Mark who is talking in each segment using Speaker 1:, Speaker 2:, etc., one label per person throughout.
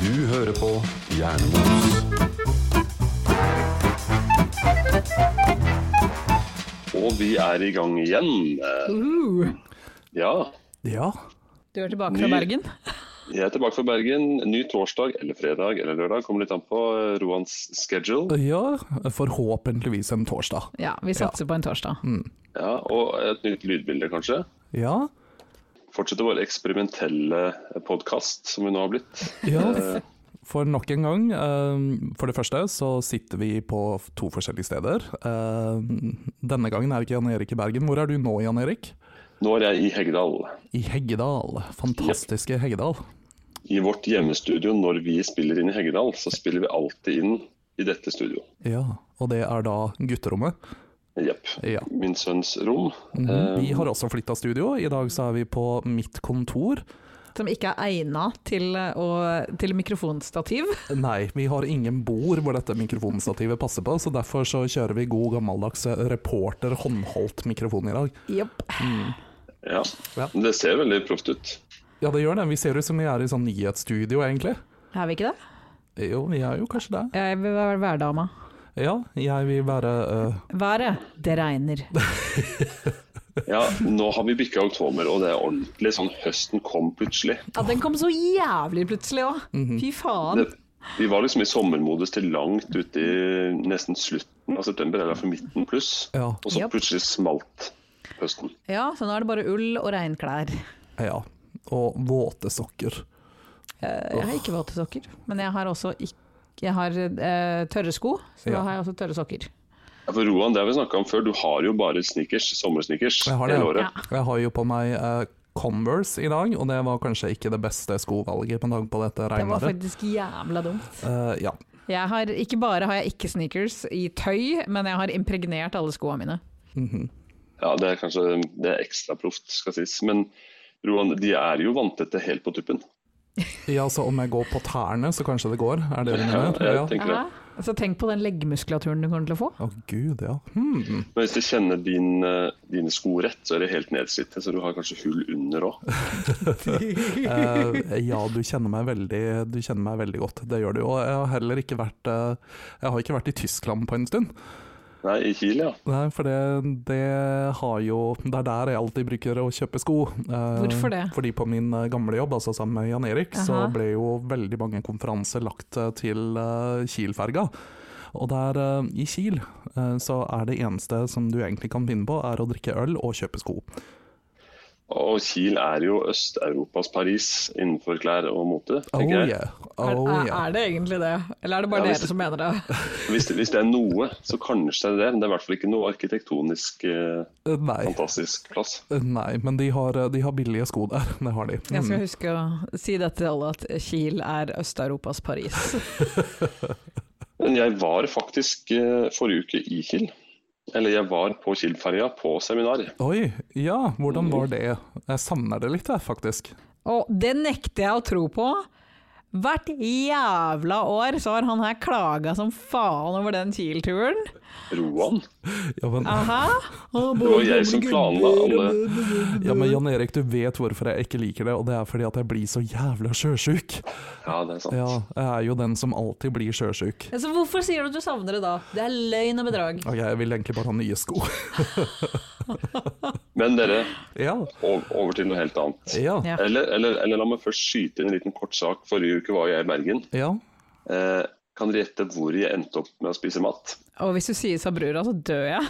Speaker 1: Du hører på Jernmos.
Speaker 2: Og vi er i gang igjen. Eh,
Speaker 3: Uh,
Speaker 2: Ja,
Speaker 4: Ja.
Speaker 3: du er tilbake
Speaker 2: Ny-
Speaker 3: fra Bergen?
Speaker 2: jeg er tilbake fra Bergen. Ny torsdag eller fredag eller lørdag. Kommer litt an på eh, Roans schedule.
Speaker 4: ja. Forhåpentligvis en torsdag.
Speaker 3: Ja, vi satser på en torsdag.
Speaker 2: Ja, og et nytt lydbilde, kanskje.
Speaker 4: Ja.
Speaker 2: Fortsette vår eksperimentelle podkast, som vi nå har blitt.
Speaker 4: ja. Eh, For nok en gang, eh, for det første så sitter vi på to forskjellige steder. Eh, Denne gangen er ikke Jan Erik i Bergen. Hvor er du nå, Jan Erik?
Speaker 2: Nå er jeg i Heggedal.
Speaker 4: I Heggedal. Fantastiske Heggedal.
Speaker 2: I vårt hjemmestudio når vi spiller inn i Heggedal, så spiller vi alltid inn i dette studioet.
Speaker 4: Ja. Og det er da gutterommet.
Speaker 2: Jepp.
Speaker 4: Ja.
Speaker 2: Min sønns rom.
Speaker 4: Mhm. Vi
Speaker 2: Eh,
Speaker 4: har også flytta studio. I dag så er vi på mitt kontor.
Speaker 3: Som ikke er egna til, eh, å- til mikrofonstativ.
Speaker 4: Nei, vi har ingen bord hvor dette mikrofonstativet passer på, så derfor så kjører vi god gammeldags reporter håndholdt mikrofon i dag.
Speaker 3: Jepp.
Speaker 2: Ja.
Speaker 4: Ja.
Speaker 2: Men Det ser veldig proft ut.
Speaker 4: Ja, det gjør det. Vi ser ut som vi er i sånn nyhetsstudio, egentlig.
Speaker 3: Er vi ikke det?
Speaker 4: Jo, vi er jo kanskje det.
Speaker 3: Jeg vil være værdama.
Speaker 4: Ja, jeg vil være øh,
Speaker 3: Været, det regner.
Speaker 2: Ja, nå har vi bikka oktober, og det er ordentlig sånn høsten kom plutselig.
Speaker 3: Ja, den kom så jævlig plutselig òg. Fy faen.
Speaker 2: Det, vi var liksom i sommermodus til langt ut i nesten slutten av september, eller for midten pluss.
Speaker 4: Ja.
Speaker 2: Og så
Speaker 3: Japp.
Speaker 2: plutselig smalt høsten.
Speaker 3: Ja, så nå er det bare ull og regnklær.
Speaker 4: Ja. Og våte sokker.
Speaker 3: Eh, Jeg har ikke våte sokker, men jeg har også ikk- jeg har eh, tørre sko, så
Speaker 4: Ja.
Speaker 3: da har jeg også tørre sokker.
Speaker 2: Ja, for Roan, det har vi snakka om før, du har jo bare sneakers, sommersneakers,
Speaker 4: Jeg har det.
Speaker 2: hele året.
Speaker 3: Ja.
Speaker 4: Jeg har jo på meg øh, Converse i dag, og det var kanskje ikke det beste skovalget med tanke på dette
Speaker 3: Det var
Speaker 4: regnværet.
Speaker 3: faktisk jævla dumt.
Speaker 4: Eh, ja.
Speaker 3: Jeg har, ikke bare har jeg ikke sneakers i tøy, men jeg har impregnert alle skoene mine.
Speaker 2: Ja, det er kanskje det er ekstra proft, skal sies. Men Roan, de er jo vanntette helt på tuppen.
Speaker 4: ja, så om jeg går på tærne, så kanskje det går? Er det det du
Speaker 2: Ja,
Speaker 4: mener?
Speaker 2: jeg
Speaker 4: Ja.
Speaker 2: tenker det.
Speaker 3: Så tenk på den leggmuskulaturen du kommer til å få.
Speaker 4: Å gud, ja. Hmm.
Speaker 2: Men hvis du kjenner din, eh, dine sko rett, så er de helt nedslitte, så du har kanskje hull under òg.
Speaker 4: Eh, ja, du kjenner meg veldig Du kjenner meg veldig godt, det gjør du. Og jeg har heller ikke vært eh, Jeg har ikke vært i Tyskland på en stund.
Speaker 2: Nei, i Kiel, ja.
Speaker 4: Nei, for det, det har jo Det er der jeg alltid bruker å kjøpe sko. Eh,
Speaker 3: Hvorfor det?
Speaker 4: Fordi på min eh, gamle jobb, altså sammen med Jan Erik, så
Speaker 3: Aha.
Speaker 4: ble jo veldig mange konferanser lagt eh, til eh, Kiel-ferga. Og der eh, i Kiel eh, så er det eneste som du egentlig kan finne på, er å drikke øl og kjøpe sko.
Speaker 2: Og Kiel er jo Øst-Europas Paris innenfor klær og mote.
Speaker 4: Oh
Speaker 2: tenker jeg.
Speaker 4: yeah. Oh, yeah.
Speaker 3: det egentlig det, eller er det
Speaker 2: Ja, hvis-
Speaker 3: som mener det?
Speaker 2: Hvis, det- hvis det er noe, så kanskje det er det. Men det er i hvert fall ikke noe arkitektonisk eh,
Speaker 4: Eh, Nei.
Speaker 2: fantastisk plass.
Speaker 4: Eh, Nei, men de har, eh, de har billige sko der. Det har de.
Speaker 3: Jeg skal
Speaker 4: Mm.
Speaker 3: huske å si det til alle, at Kiel er Øst-Europas Paris.
Speaker 2: Men jeg var faktisk eh, forrige uke i Kiel. Eller jeg var på Kiel-ferja på seminar.
Speaker 4: Oi, ja, hvordan var det? Jeg savner det litt, jeg, faktisk.
Speaker 3: Og det nekter jeg å tro på. Hvert jævla år så har han her klaga som faen over den Kiel-turen.
Speaker 2: Roan.
Speaker 4: Ja, men
Speaker 3: Aha.
Speaker 2: Det var jeg som planla alle
Speaker 4: Ja,
Speaker 3: Mm.
Speaker 4: men Jan Erik, du vet hvorfor jeg ikke liker det, og det er fordi at jeg blir så jævla sjøsjuk.
Speaker 2: Ja, det er sant.
Speaker 4: Ja, jeg er jo den som alltid blir sjøsjuk.
Speaker 3: Altså, hvorfor sier du at du savner det da? Det er løgn og bedrag.
Speaker 4: Ok, jeg vil egentlig bare ha nye sko.
Speaker 2: Men dere,
Speaker 4: ja,
Speaker 2: ov- over til noe helt annet.
Speaker 4: ja,
Speaker 3: Ja.
Speaker 2: Eller, eller, eller la meg først skyte inn en liten kort sak. Forrige uke var jeg i Bergen.
Speaker 4: ja.
Speaker 2: Eh, kan dere gjette hvor jeg endte opp med å spise mat?
Speaker 3: Og hvis du sier Sabrura, så dør jeg.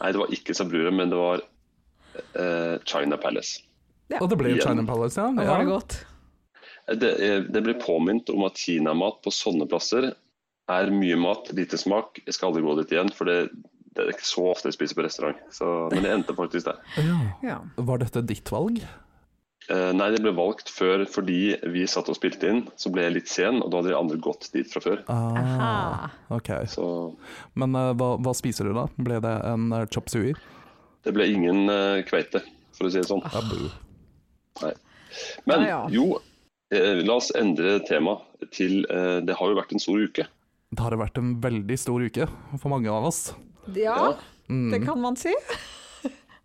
Speaker 2: Nei, det var ikke Sabrura, men det var eh, China Palace.
Speaker 4: Og det ble jo
Speaker 2: Igjen.
Speaker 4: China Palace, ja.
Speaker 3: Var det
Speaker 4: ja.
Speaker 3: godt?
Speaker 2: Det, eh, det ble påminnet om at kinamat på sånne plasser er mye mat, lite smak. Jeg skal aldri gå dit igjen, for det, det er ikke så ofte jeg spiser på restaurant. Så, men jeg endte faktisk der.
Speaker 4: ja.
Speaker 3: Ja.
Speaker 4: Var dette ditt valg?
Speaker 2: Eh, nei, det ble valgt før fordi vi satt og spilte inn. Så ble jeg litt sen, og da hadde de andre gått dit fra før.
Speaker 4: Ah,
Speaker 3: Aha.
Speaker 4: ok.
Speaker 2: Så
Speaker 4: Men eh, hva, hva spiser du da? Ble det en eh, chop sui?
Speaker 2: det ble ingen eh, kveite, for å si det sånn.
Speaker 4: Ja, bu.
Speaker 2: Men
Speaker 3: Ja, ja.
Speaker 2: jo, eh, la oss endre tema til eh, Det har jo vært en stor uke.
Speaker 4: Det har vært en veldig stor uke for mange av oss.
Speaker 3: Ja, det kan man si.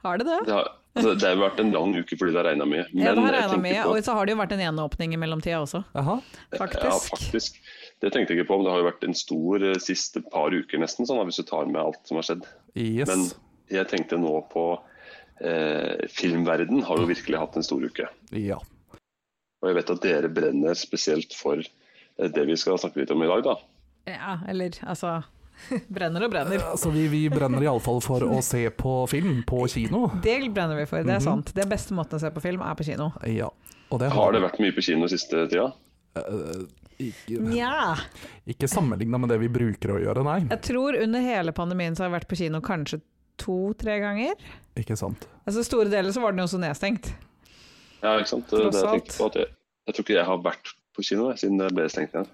Speaker 3: Har det det?
Speaker 2: Det har, altså, det har vært en lang uke fordi det har regna mye.
Speaker 3: ja, det har
Speaker 2: jeg
Speaker 3: regna
Speaker 2: tenker
Speaker 3: mye,
Speaker 2: på-
Speaker 3: og så har det jo vært en gjenåpning i mellomtida også,
Speaker 4: Jaha.
Speaker 3: faktisk.
Speaker 2: Ja, faktisk. Det tenkte jeg ikke på, men det har jo vært en stor eh, siste par uker nesten, sånn, da, hvis du tar med alt som har skjedd.
Speaker 4: Yes.
Speaker 2: Men jeg tenkte nå på eh, Filmverden har jo virkelig hatt en stor uke.
Speaker 4: Ja.
Speaker 2: Og jeg vet at dere brenner spesielt for eh, det vi skal snakke litt om i dag, da.
Speaker 3: Ja, eller altså Brenner og brenner.
Speaker 4: Eh, Så vi, vi brenner iallfall for å se på film på kino.
Speaker 3: Det brenner vi for, det er
Speaker 2: Mhm.
Speaker 3: sant. Det beste måten å se på film er på kino.
Speaker 4: Ja. Og det
Speaker 2: Har det vært mye på kino siste tida?
Speaker 4: Eh, Ikke,
Speaker 3: Nja.
Speaker 4: ikke sammenligna med det vi bruker å gjøre, nei.
Speaker 3: Jeg tror under hele pandemien så har jeg vært på kino kanskje to-tre gaganger.
Speaker 4: Ikke sant.
Speaker 3: Altså store deler så var den jo også nedstengt.
Speaker 2: Ja, ikke sant? Det,
Speaker 3: Tross
Speaker 2: det jeg
Speaker 3: alt.
Speaker 2: tenkte på at jeg, jeg tror ikke jeg har vært på kino jeg, siden det ble stengt igjen.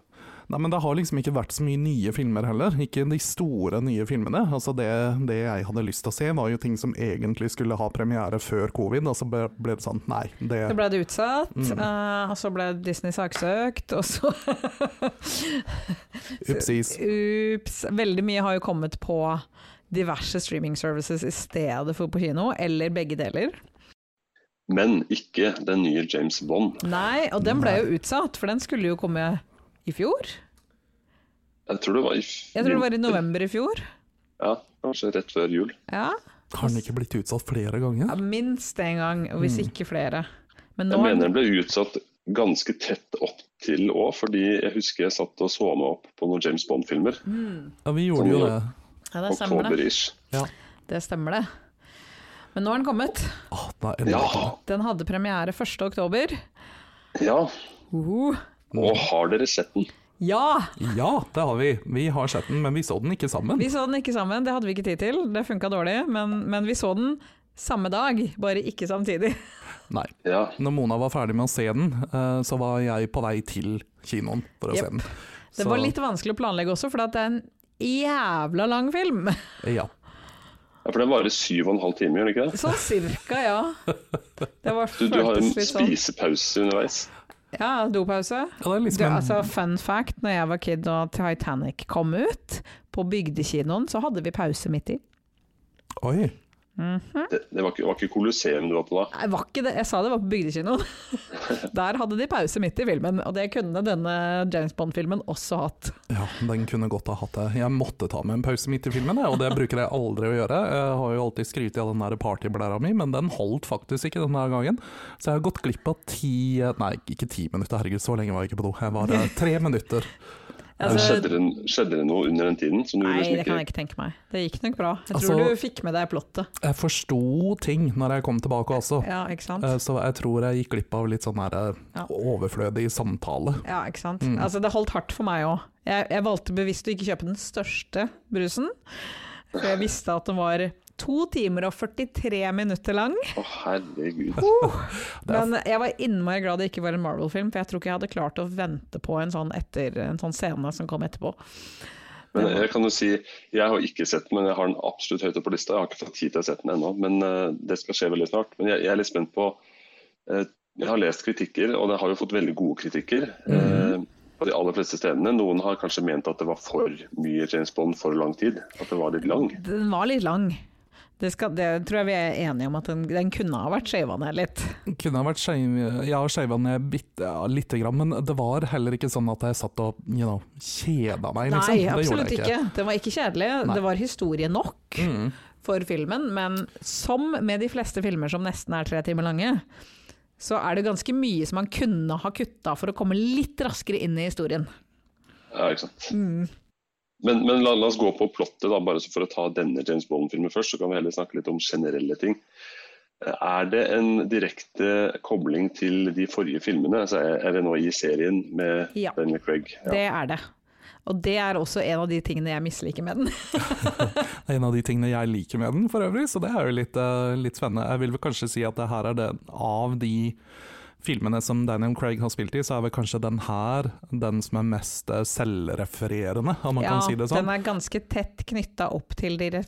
Speaker 4: Nei, men det har liksom ikke vært så mye nye filmer heller. Ikke de store nye filmene. Altså det, det jeg hadde lyst til å se, var jo ting som egentlig skulle ha premiere før covid, og så ble ble det sånn nei, det
Speaker 3: Så ble det utsatt,
Speaker 2: Mm.
Speaker 3: eh, og så ble Disney saksøkt, og så
Speaker 4: Upsis.
Speaker 3: Ups. Veldig mye har jo kommet på diverse streaming services i stedet for på kino, eller begge deler.
Speaker 2: Men ikke den nye James Bond.
Speaker 3: Nei, og den ble jo utsatt, for den skulle jo komme i fjor.
Speaker 2: Jeg tror det var i
Speaker 3: Jeg tror det var i
Speaker 2: vinter.
Speaker 3: november i fjor.
Speaker 2: Ja, kanskje rett før jul.
Speaker 3: Ja,
Speaker 4: Har den ikke blitt utsatt flere
Speaker 3: Ja,
Speaker 4: ganger?
Speaker 3: minst én gang, og hvis ikke flere. Men nå
Speaker 2: Jeg
Speaker 3: er
Speaker 2: mener den ble utsatt ganske tett opp til òg, fordi jeg husker jeg satt og så meg opp på noen James Bond-filmer.
Speaker 4: Ja, vi gjorde jo det.
Speaker 3: ja, det stemmer det.
Speaker 2: Oktober-ish.
Speaker 4: Ja.
Speaker 3: det stemmer det. Men nå er den kommet.
Speaker 4: Åh, nei,
Speaker 2: Ja.
Speaker 4: endelig.
Speaker 3: Den hadde premiere 1. oktober.
Speaker 2: ja.
Speaker 3: Uhu.
Speaker 2: Og har dere sett den?
Speaker 3: Ja!
Speaker 4: ja, det har vi. Vi har sett den, men vi så den ikke sammen.
Speaker 3: Vi så den ikke sammen, det hadde vi ikke tid til. Det funka dårlig, men, men vi så den samme dag, bare ikke samtidig.
Speaker 4: Nei.
Speaker 2: Ja.
Speaker 4: Når Mona var ferdig med å se den, eh, så var jeg på vei til kinoen for å
Speaker 3: Jep.
Speaker 4: se den.
Speaker 3: Det
Speaker 4: Så-
Speaker 3: var litt vanskelig å planlegge også, for det er en jævla lang film.
Speaker 4: Ja.
Speaker 2: ja, for den varer syv og en halv time, gjør den ikke det?
Speaker 3: Sånn cirka, ja. Det var
Speaker 2: Du, du har en
Speaker 3: føltes litt sånn.
Speaker 2: spisepause underveis.
Speaker 3: Ja, dopause.
Speaker 4: ja, det er
Speaker 3: Du,
Speaker 4: liksom en
Speaker 3: altså, fun fact, når jeg var kid og Titanic kom ut, på bygdekinoen så hadde vi pause midt i.
Speaker 4: Oi.
Speaker 2: Det, det var ikke, var ikke Colosseum du var på da?
Speaker 3: Nei, var ikke det. Jeg sa det var på bygdekinoen. Der hadde de pause midt i filmen, og det kunne denne James Bond-filmen også hatt.
Speaker 4: Ja, den kunne godt ha hatt det. Jeg måtte ta med en pause midt i filmen, jeg, og det bruker jeg aldri å gjøre. Jeg har jo alltid skrytt av den der partyblæra mi, men den holdt faktisk ikke denne gangen. Så jeg har gått glipp av ti Nei, ikke ti minutter, herregud, så lenge var jeg ikke på do. Jeg var eh, tre minutter.
Speaker 3: Altså,
Speaker 2: skjedde, det, skjedde det noe under den tiden som du
Speaker 3: nei,
Speaker 2: liksom
Speaker 3: det kan
Speaker 2: ikke
Speaker 3: jeg ikke tenke meg. Det gikk nok bra. Jeg
Speaker 4: Altså-
Speaker 3: tror du fikk med deg plottet.
Speaker 4: Jeg forsto ting når jeg kom tilbake også,
Speaker 3: Ja, ikke sant?
Speaker 4: Eh, så jeg tror jeg gikk glipp av litt sånn her eh,
Speaker 3: Ja.
Speaker 4: overflødig samtale.
Speaker 3: Ja, ikke sant?
Speaker 4: mm.
Speaker 3: Altså, det holdt hardt for meg òg. Jeg, jeg valgte bevisst å ikke kjøpe den største brusen, for jeg visste at den var to timer og 43 minutter lang.
Speaker 2: Å, herregud.
Speaker 3: Men jeg var innmari glad det ikke var en Marvel-film, for jeg tror ikke jeg hadde klart å vente på en sånn, etter, en sånn scene som kom etterpå.
Speaker 2: Men jeg kan jo si, jeg har ikke sett den, men jeg har den absolutt høyt oppe på lista. Jeg har ikke fått tid til å sette den ennå, men eh, det skal skje veldig snart. Men jeg, jeg er litt spent på eh, Jeg har lest kritikker, og det har jo fått veldig gode kritikker. eh, på de aller fleste stedene. Noen har kanskje ment at det var for mye James Bond for lang tid. At det var litt lang.
Speaker 3: Den var litt lang. Det, skal, det tror jeg vi er enige om at den, den kunne ha vært skjeva ned litt.
Speaker 4: Kunne ha vært skeiv, jeg har skeiva ned bitte ja, lite grann, men det var heller ikke sånn at jeg satt og you know, kjeda meg, liksom.
Speaker 3: Nei,
Speaker 4: Det gjorde
Speaker 3: absolutt
Speaker 4: jeg
Speaker 3: ikke. Den var ikke kjedelig.
Speaker 4: Nei. Mm.
Speaker 3: Det var historie nok for filmen, men som med de fleste filmer som nesten er tre timer lange, så er det ganske mye som man kunne ha kutta for å komme litt raskere inn i historien.
Speaker 2: Ja, ikke sant?
Speaker 3: Mm.
Speaker 2: Men, men la, la oss gå på plottet, da, bare så for å ta denne James Bond-filmen først. Så kan vi heller snakke litt om generelle ting. Eh, Er det en direkte kobling til de forrige filmene? Altså, er er det nå i serien med
Speaker 3: Ja.
Speaker 2: Daniel Craig?
Speaker 3: Det er det. Og det er også en av de tingene jeg misliker med den.
Speaker 4: Det er En av de tingene jeg liker med den for øvrig, så det er jo litt, eh, litt spennende. Jeg vil vel kanskje si at det her er den av de filmene som Daniel Craig har spilt i, så er vel kanskje den her den som er mest eh, selvrefererende, om man kan si det sånn.
Speaker 3: Den er ganske tett knytta opp til de re-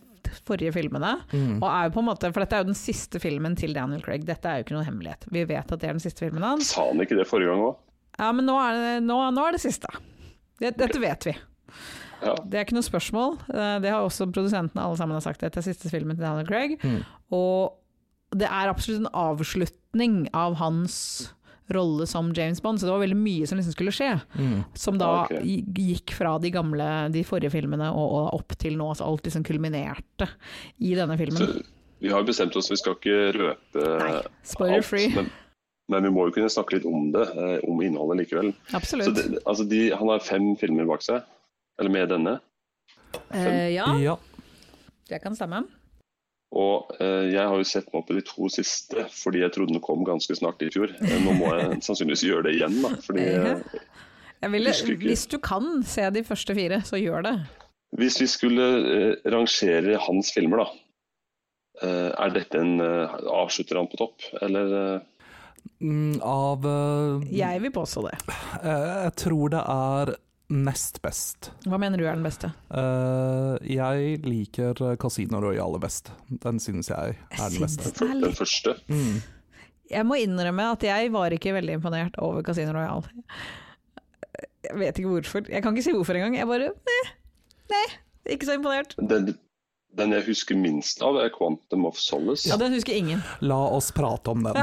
Speaker 3: forrige filmene.
Speaker 4: Mm.
Speaker 3: Og er jo på en måte, for dette er jo den siste filmen til Daniel Craig, dette er jo ikke noen hemmelighet. Vi vet at det er den siste filmen hans.
Speaker 2: Sa han ikke det forrige gang òg?
Speaker 3: Ja, men nå er det, nå, nå er det siste. Det, dette vet vi.
Speaker 2: Ja.
Speaker 3: Det er ikke
Speaker 4: Mm,
Speaker 3: noe spørsmål. Eh, Det har også produsentene alle sammen har sagt. Dette er siste filmen til Daniel Craig. Og det er absolutt en avslutning av hans rolle som James Bond, så det var veldig mye som liksom skulle skje.
Speaker 4: Mm.
Speaker 3: Som da
Speaker 2: Ok.
Speaker 3: gi- gikk fra de gamle, de forrige filmene og, og opp til nå. Så alt liksom kulminerte i denne
Speaker 2: Så
Speaker 3: filmen.
Speaker 2: vi har jo bestemt oss, vi skal ikke røpe
Speaker 3: Nei,
Speaker 2: alt,
Speaker 3: spoiler free.
Speaker 2: men, men vi må jo kunne snakke litt om det, eh, om innholdet likevel. Så
Speaker 3: Absolutt.
Speaker 2: det, altså de, han har fem filmer bak seg, eller med denne.
Speaker 3: Eh, ja,
Speaker 4: Ja.
Speaker 3: det kan stemme.
Speaker 2: Og eh, jeg har jo sett meg opp på de to siste, fordi jeg trodde den kom ganske snart i fjor. Eh, Nå må jeg sannsynligvis gjøre det igjen, da. Fordi eh,
Speaker 3: Jeg ville,
Speaker 2: Husker ikke.
Speaker 3: hvis du kan se de første fire, så gjør det.
Speaker 2: hvis vi skulle eh, rangere hans filmer, da. eh, er dette en eh, Avslutter han på topp, eller? eh,
Speaker 4: Mm, Av eh,
Speaker 3: Jeg vil påstå det.
Speaker 4: eh, Jeg tror det er nest best.
Speaker 3: Hva mener du er den beste?
Speaker 4: Eh, jeg liker Casino Royale best. Den synes jeg er den
Speaker 3: Synes
Speaker 4: beste.
Speaker 3: den er
Speaker 2: den
Speaker 3: litt-
Speaker 2: første?
Speaker 4: Mm.
Speaker 3: Jeg må innrømme at jeg var ikke veldig imponert over Casino Royale. Jeg vet ikke hvorfor. Jeg kan ikke si hvorfor engang. Jeg bare Nei, nei ikke så imponert.
Speaker 2: Den, den jeg husker minst av, er 'Quantum of Solace'.
Speaker 3: Ja, den husker ingen.
Speaker 4: La oss prate om den.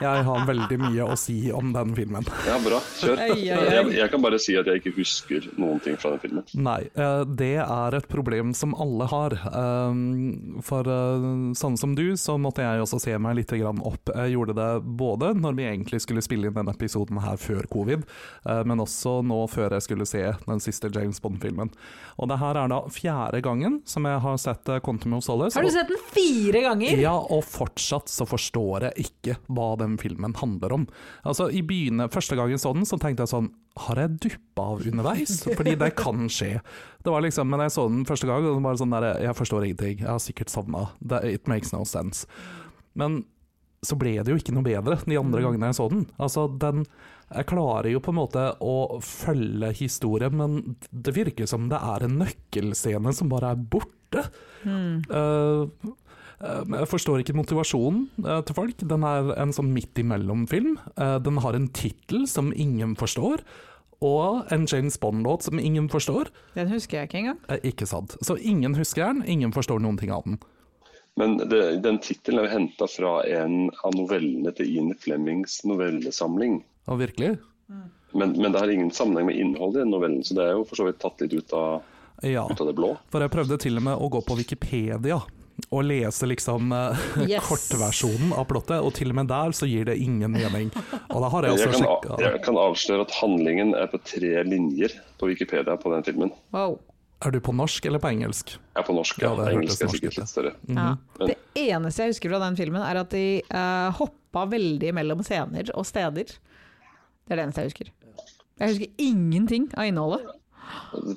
Speaker 4: Jeg har veldig mye å si om den filmen.
Speaker 2: Ja, bra. Kjør.
Speaker 3: Ai, ai, ai.
Speaker 2: Jeg, jeg kan bare si at jeg ikke husker noen ting fra den filmen.
Speaker 4: Nei, eh, det er et problem som alle har. Um, For eh, sånn som du, så måtte jeg også se meg litt grann opp. Jeg gjorde det både når vi egentlig skulle spille inn denne episoden her før covid, eh, men også nå før jeg skulle se den siste James Bond-filmen. Og det her er da fjerde gangen som jeg har sett eh, Quantum of Solace.
Speaker 3: Har du
Speaker 4: og-
Speaker 3: sett den fire ganger?
Speaker 4: Ja, og fortsatt så forstår jeg ikke hva den filmen handler om. Altså, i begynne, Første gangen jeg så den, så tenkte jeg sånn Har jeg duppa av underveis? Fordi det kan skje. Det var liksom, Men jeg så den første gang, og det var sånn der Jeg forstår ingenting. Jeg har sikkert sovna. Det- It makes no sense. Men så ble det jo ikke noe bedre de andre gangene jeg så den. Altså, den Jeg klarer jo på en måte å følge historien, men det virker som det er en nøkkelscene som bare er borte. Eh, Eh, Jeg forstår ikke motivasjonen eh, til folk. Den er en sånn midt imellom-film. Eh, Den har en tittel som ingen forstår, og en James Bond-låt som ingen forstår.
Speaker 3: Den husker jeg ikke engang.
Speaker 4: Eh, Ikke sant. Så ingen husker den, ingen forstår noen ting av den.
Speaker 2: Men det, den tittelen er jo henta fra en av novellene til Ian Flemings novellesamling.
Speaker 4: Og virkelig.
Speaker 2: Men, men det har ingen sammenheng med innholdet i den novellen, så det er jo for så vidt tatt litt ut av,
Speaker 4: Ja.
Speaker 2: ut av det blå.
Speaker 4: For jeg prøvde til og med å gå på Wikipedia og lese liksom eh,
Speaker 3: Yes.
Speaker 4: kortversjonen av plottet, og til og med der så gir det ingen mening. Og da har
Speaker 2: Jeg
Speaker 4: jeg også
Speaker 2: kan,
Speaker 4: sjekka
Speaker 2: a- jeg kan avsløre at handlingen er på tre linjer på Wikipedia på den filmen.
Speaker 3: Wow.
Speaker 4: Er du på norsk eller på engelsk?
Speaker 2: Jeg er på norsk,
Speaker 4: Ja,
Speaker 2: ja.
Speaker 4: det hørtes
Speaker 2: Engelsk er
Speaker 4: norsk ut,
Speaker 2: sikkert
Speaker 4: ja. Mm.
Speaker 2: litt større.
Speaker 3: Ja. Det eneste jeg husker fra den filmen, er at de eh, hoppa veldig mellom scener og steder. Det er det eneste jeg husker. Jeg husker ingenting av innholdet.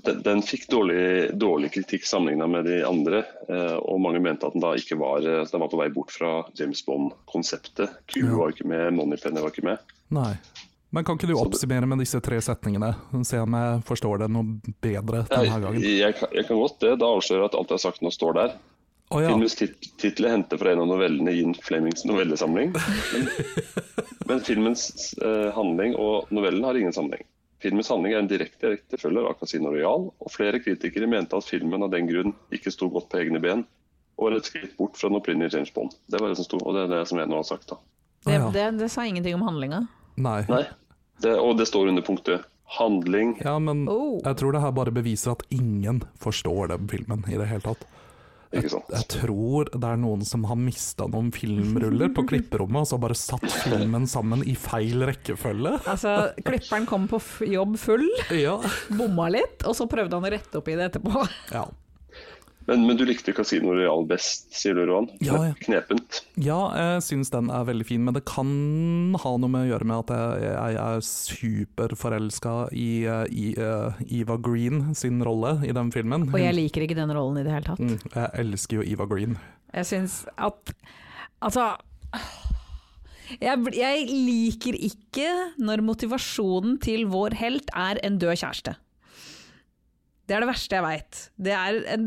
Speaker 2: Den, den fikk dårlig, dårlig kritikk sammenligna med de andre, eh, og mange mente at den da ikke var, eh, den var på vei bort fra James Bond-konseptet. Q var ikke med, Moneypenny var ikke med.
Speaker 4: Nei. Men kan ikke du oppsummere med disse tre setningene? Se om jeg forstår det noe bedre denne gangen.
Speaker 2: Jeg, jeg, kan- jeg kan godt det. Da avslører jeg at alt jeg har sagt nå står der.
Speaker 4: Å ja.
Speaker 2: Filmens tit tittel er hentet fra en av novellene i Ian Flemings novellesamling. Men, men filmens eh, handling og novellen har ingen sammenheng. Filmens handling er en direkte rektefølger av Casino Royal, og flere kritikere mente at filmen av den grunn ikke sto godt på egne ben, og var et skritt bort fra den opprinnelige James Bond. Det var det som sto, og det er det som jeg nå har sagt. da.
Speaker 3: Det,
Speaker 4: Ja.
Speaker 3: det, det sa ingenting om handlinga.
Speaker 4: Nei.
Speaker 2: Nei, det, Og det står under punktet 'handling'.
Speaker 4: Ja, men
Speaker 3: Oh.
Speaker 4: jeg tror det her bare beviser at ingen forstår den filmen i det hele tatt.
Speaker 2: ikke sant?
Speaker 4: Jeg tror det er noen som har mista noen filmruller på klipperommet, og så bare satt filmen sammen i feil rekkefølge.
Speaker 3: Altså, klipperen kom på f jobb full,
Speaker 4: Ja.
Speaker 3: bomma litt, og så prøvde han å rette opp i det etterpå.
Speaker 4: Ja,
Speaker 2: Men, men du likte Casino Royal best, sier du, Roan.
Speaker 4: Ja, ja.
Speaker 2: Knepent.
Speaker 4: ja jeg syns den er veldig fin, men det kan ha noe med å gjøre med at jeg, jeg er superforelska i, eh, i eh, Eva Green sin rolle i den filmen.
Speaker 3: Og jeg liker ikke den rollen i det hele tatt.
Speaker 4: Mm, jeg elsker jo Eva Green.
Speaker 3: Jeg syns at Altså jeg, bl- jeg liker ikke når motivasjonen til vår helt er en død kjæreste. Det er det verste jeg veit. Det er en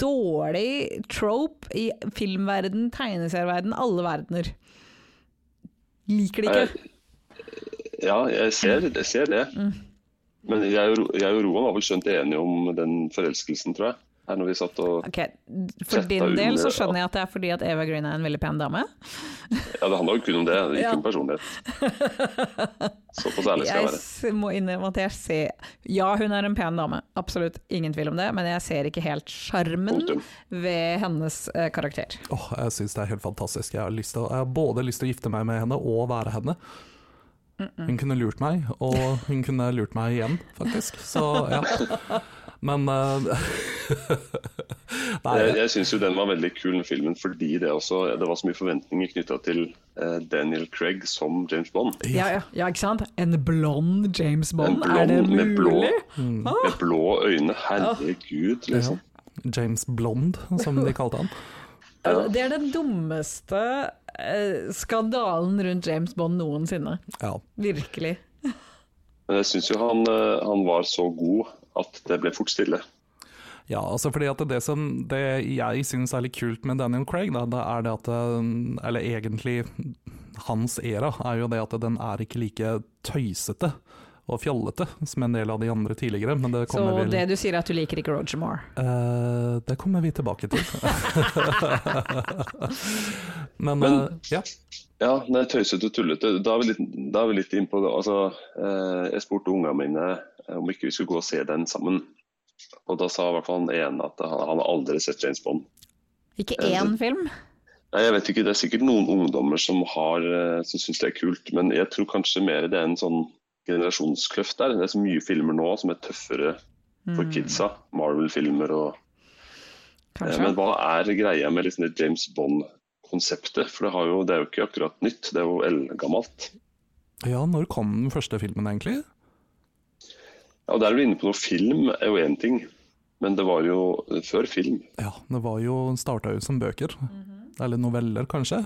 Speaker 3: dårlig trope i filmverden, tegneserieverden, alle verdener. Liker det ikke.
Speaker 2: Ja, jeg ser, jeg
Speaker 3: Mm.
Speaker 2: ser det. Men jeg og, Ro- jeg og Roan var vel skjønt enige om den forelskelsen, tror jeg. her når vi satt og
Speaker 3: Ok, For
Speaker 2: Sett
Speaker 3: din
Speaker 2: deg
Speaker 3: del så
Speaker 2: under
Speaker 3: skjønner jeg at det er fordi at Eva Green er en veldig pen dame.
Speaker 2: Ja, det handla jo kun om det, ikke
Speaker 3: Ja.
Speaker 2: om personlighet. Såpass ærlig skal jeg
Speaker 3: Jeg
Speaker 2: være.
Speaker 3: s- må innrømme at jeg ser Ja, hun er en pen dame, absolutt ingen tvil om det, men jeg ser ikke helt sjarmen
Speaker 2: Punktum.
Speaker 3: ved hennes eh, karakter.
Speaker 4: Åh, jeg syns det er helt fantastisk. Jeg har, lyst til, å- jeg har både lyst til å gifte meg med henne og være henne. Hun kunne lurt meg, og hun kunne lurt meg igjen, faktisk. Så ja. Men eh, Nei,
Speaker 2: Jeg, jeg syns jo den var veldig kul, den filmen, fordi det også Det var så mye forventninger knytta til eh, Daniel Craig som James Bond.
Speaker 3: Ja, ja, ja, ikke sant? En blond James Bond,
Speaker 2: En blond
Speaker 3: er det
Speaker 2: med blå-
Speaker 3: mulig?
Speaker 2: Med blå øyne. Herregud, liksom.
Speaker 4: James Blond, som de kalte han.
Speaker 3: Altså, Det er den dummeste eh, skandalen rundt James Bond noensinne.
Speaker 4: Ja.
Speaker 3: Virkelig.
Speaker 2: Men jeg syns jo han, eh, han var så god at det ble fort stille.
Speaker 4: Ja, altså fordi at det som det jeg synes er litt kult med Daniel Craig, da, det er det at eh, Eller egentlig hans era er jo det at den er ikke like tøysete og fjollete som en del av de andre tidligere, men det
Speaker 3: Så
Speaker 4: kommer vel
Speaker 3: det du sier er at du liker ikke Roger Moore.
Speaker 4: Eh, det kommer vi tilbake til. Men,
Speaker 2: Men-
Speaker 4: eh, ja.
Speaker 2: Ja, nei, tøysete og tullete. Da er vi litt, da er vi litt innpå det. Altså, eh, jeg spurte ungene mine eh, om ikke vi skulle gå og se den sammen. Og da sa i hvert fall han ene at han, han har aldri sett James Bond.
Speaker 3: Ikke
Speaker 2: Eh,
Speaker 3: én film?
Speaker 2: Nei, jeg vet ikke, Det er sikkert noen ungdommer som, har, eh, som syns det er kult, men jeg tror kanskje mer det er en sånn generasjonskløft der. Det er så mye filmer nå som er tøffere for kidsa. Marvel-filmer og eh,
Speaker 3: Kanskje.
Speaker 2: Men hva er greia med liksom det James Bond-konseptet? For det, har jo, det er jo ikke akkurat nytt, det er jo eldgammelt.
Speaker 4: ja, når kom den første filmen egentlig?
Speaker 2: Ja, og Der er du inne på noe film, er jo én ting. Men det var jo eh, før film.
Speaker 4: Ja, det var jo starta jo som bøker.
Speaker 3: Mhm.
Speaker 4: Eller noveller, kanskje.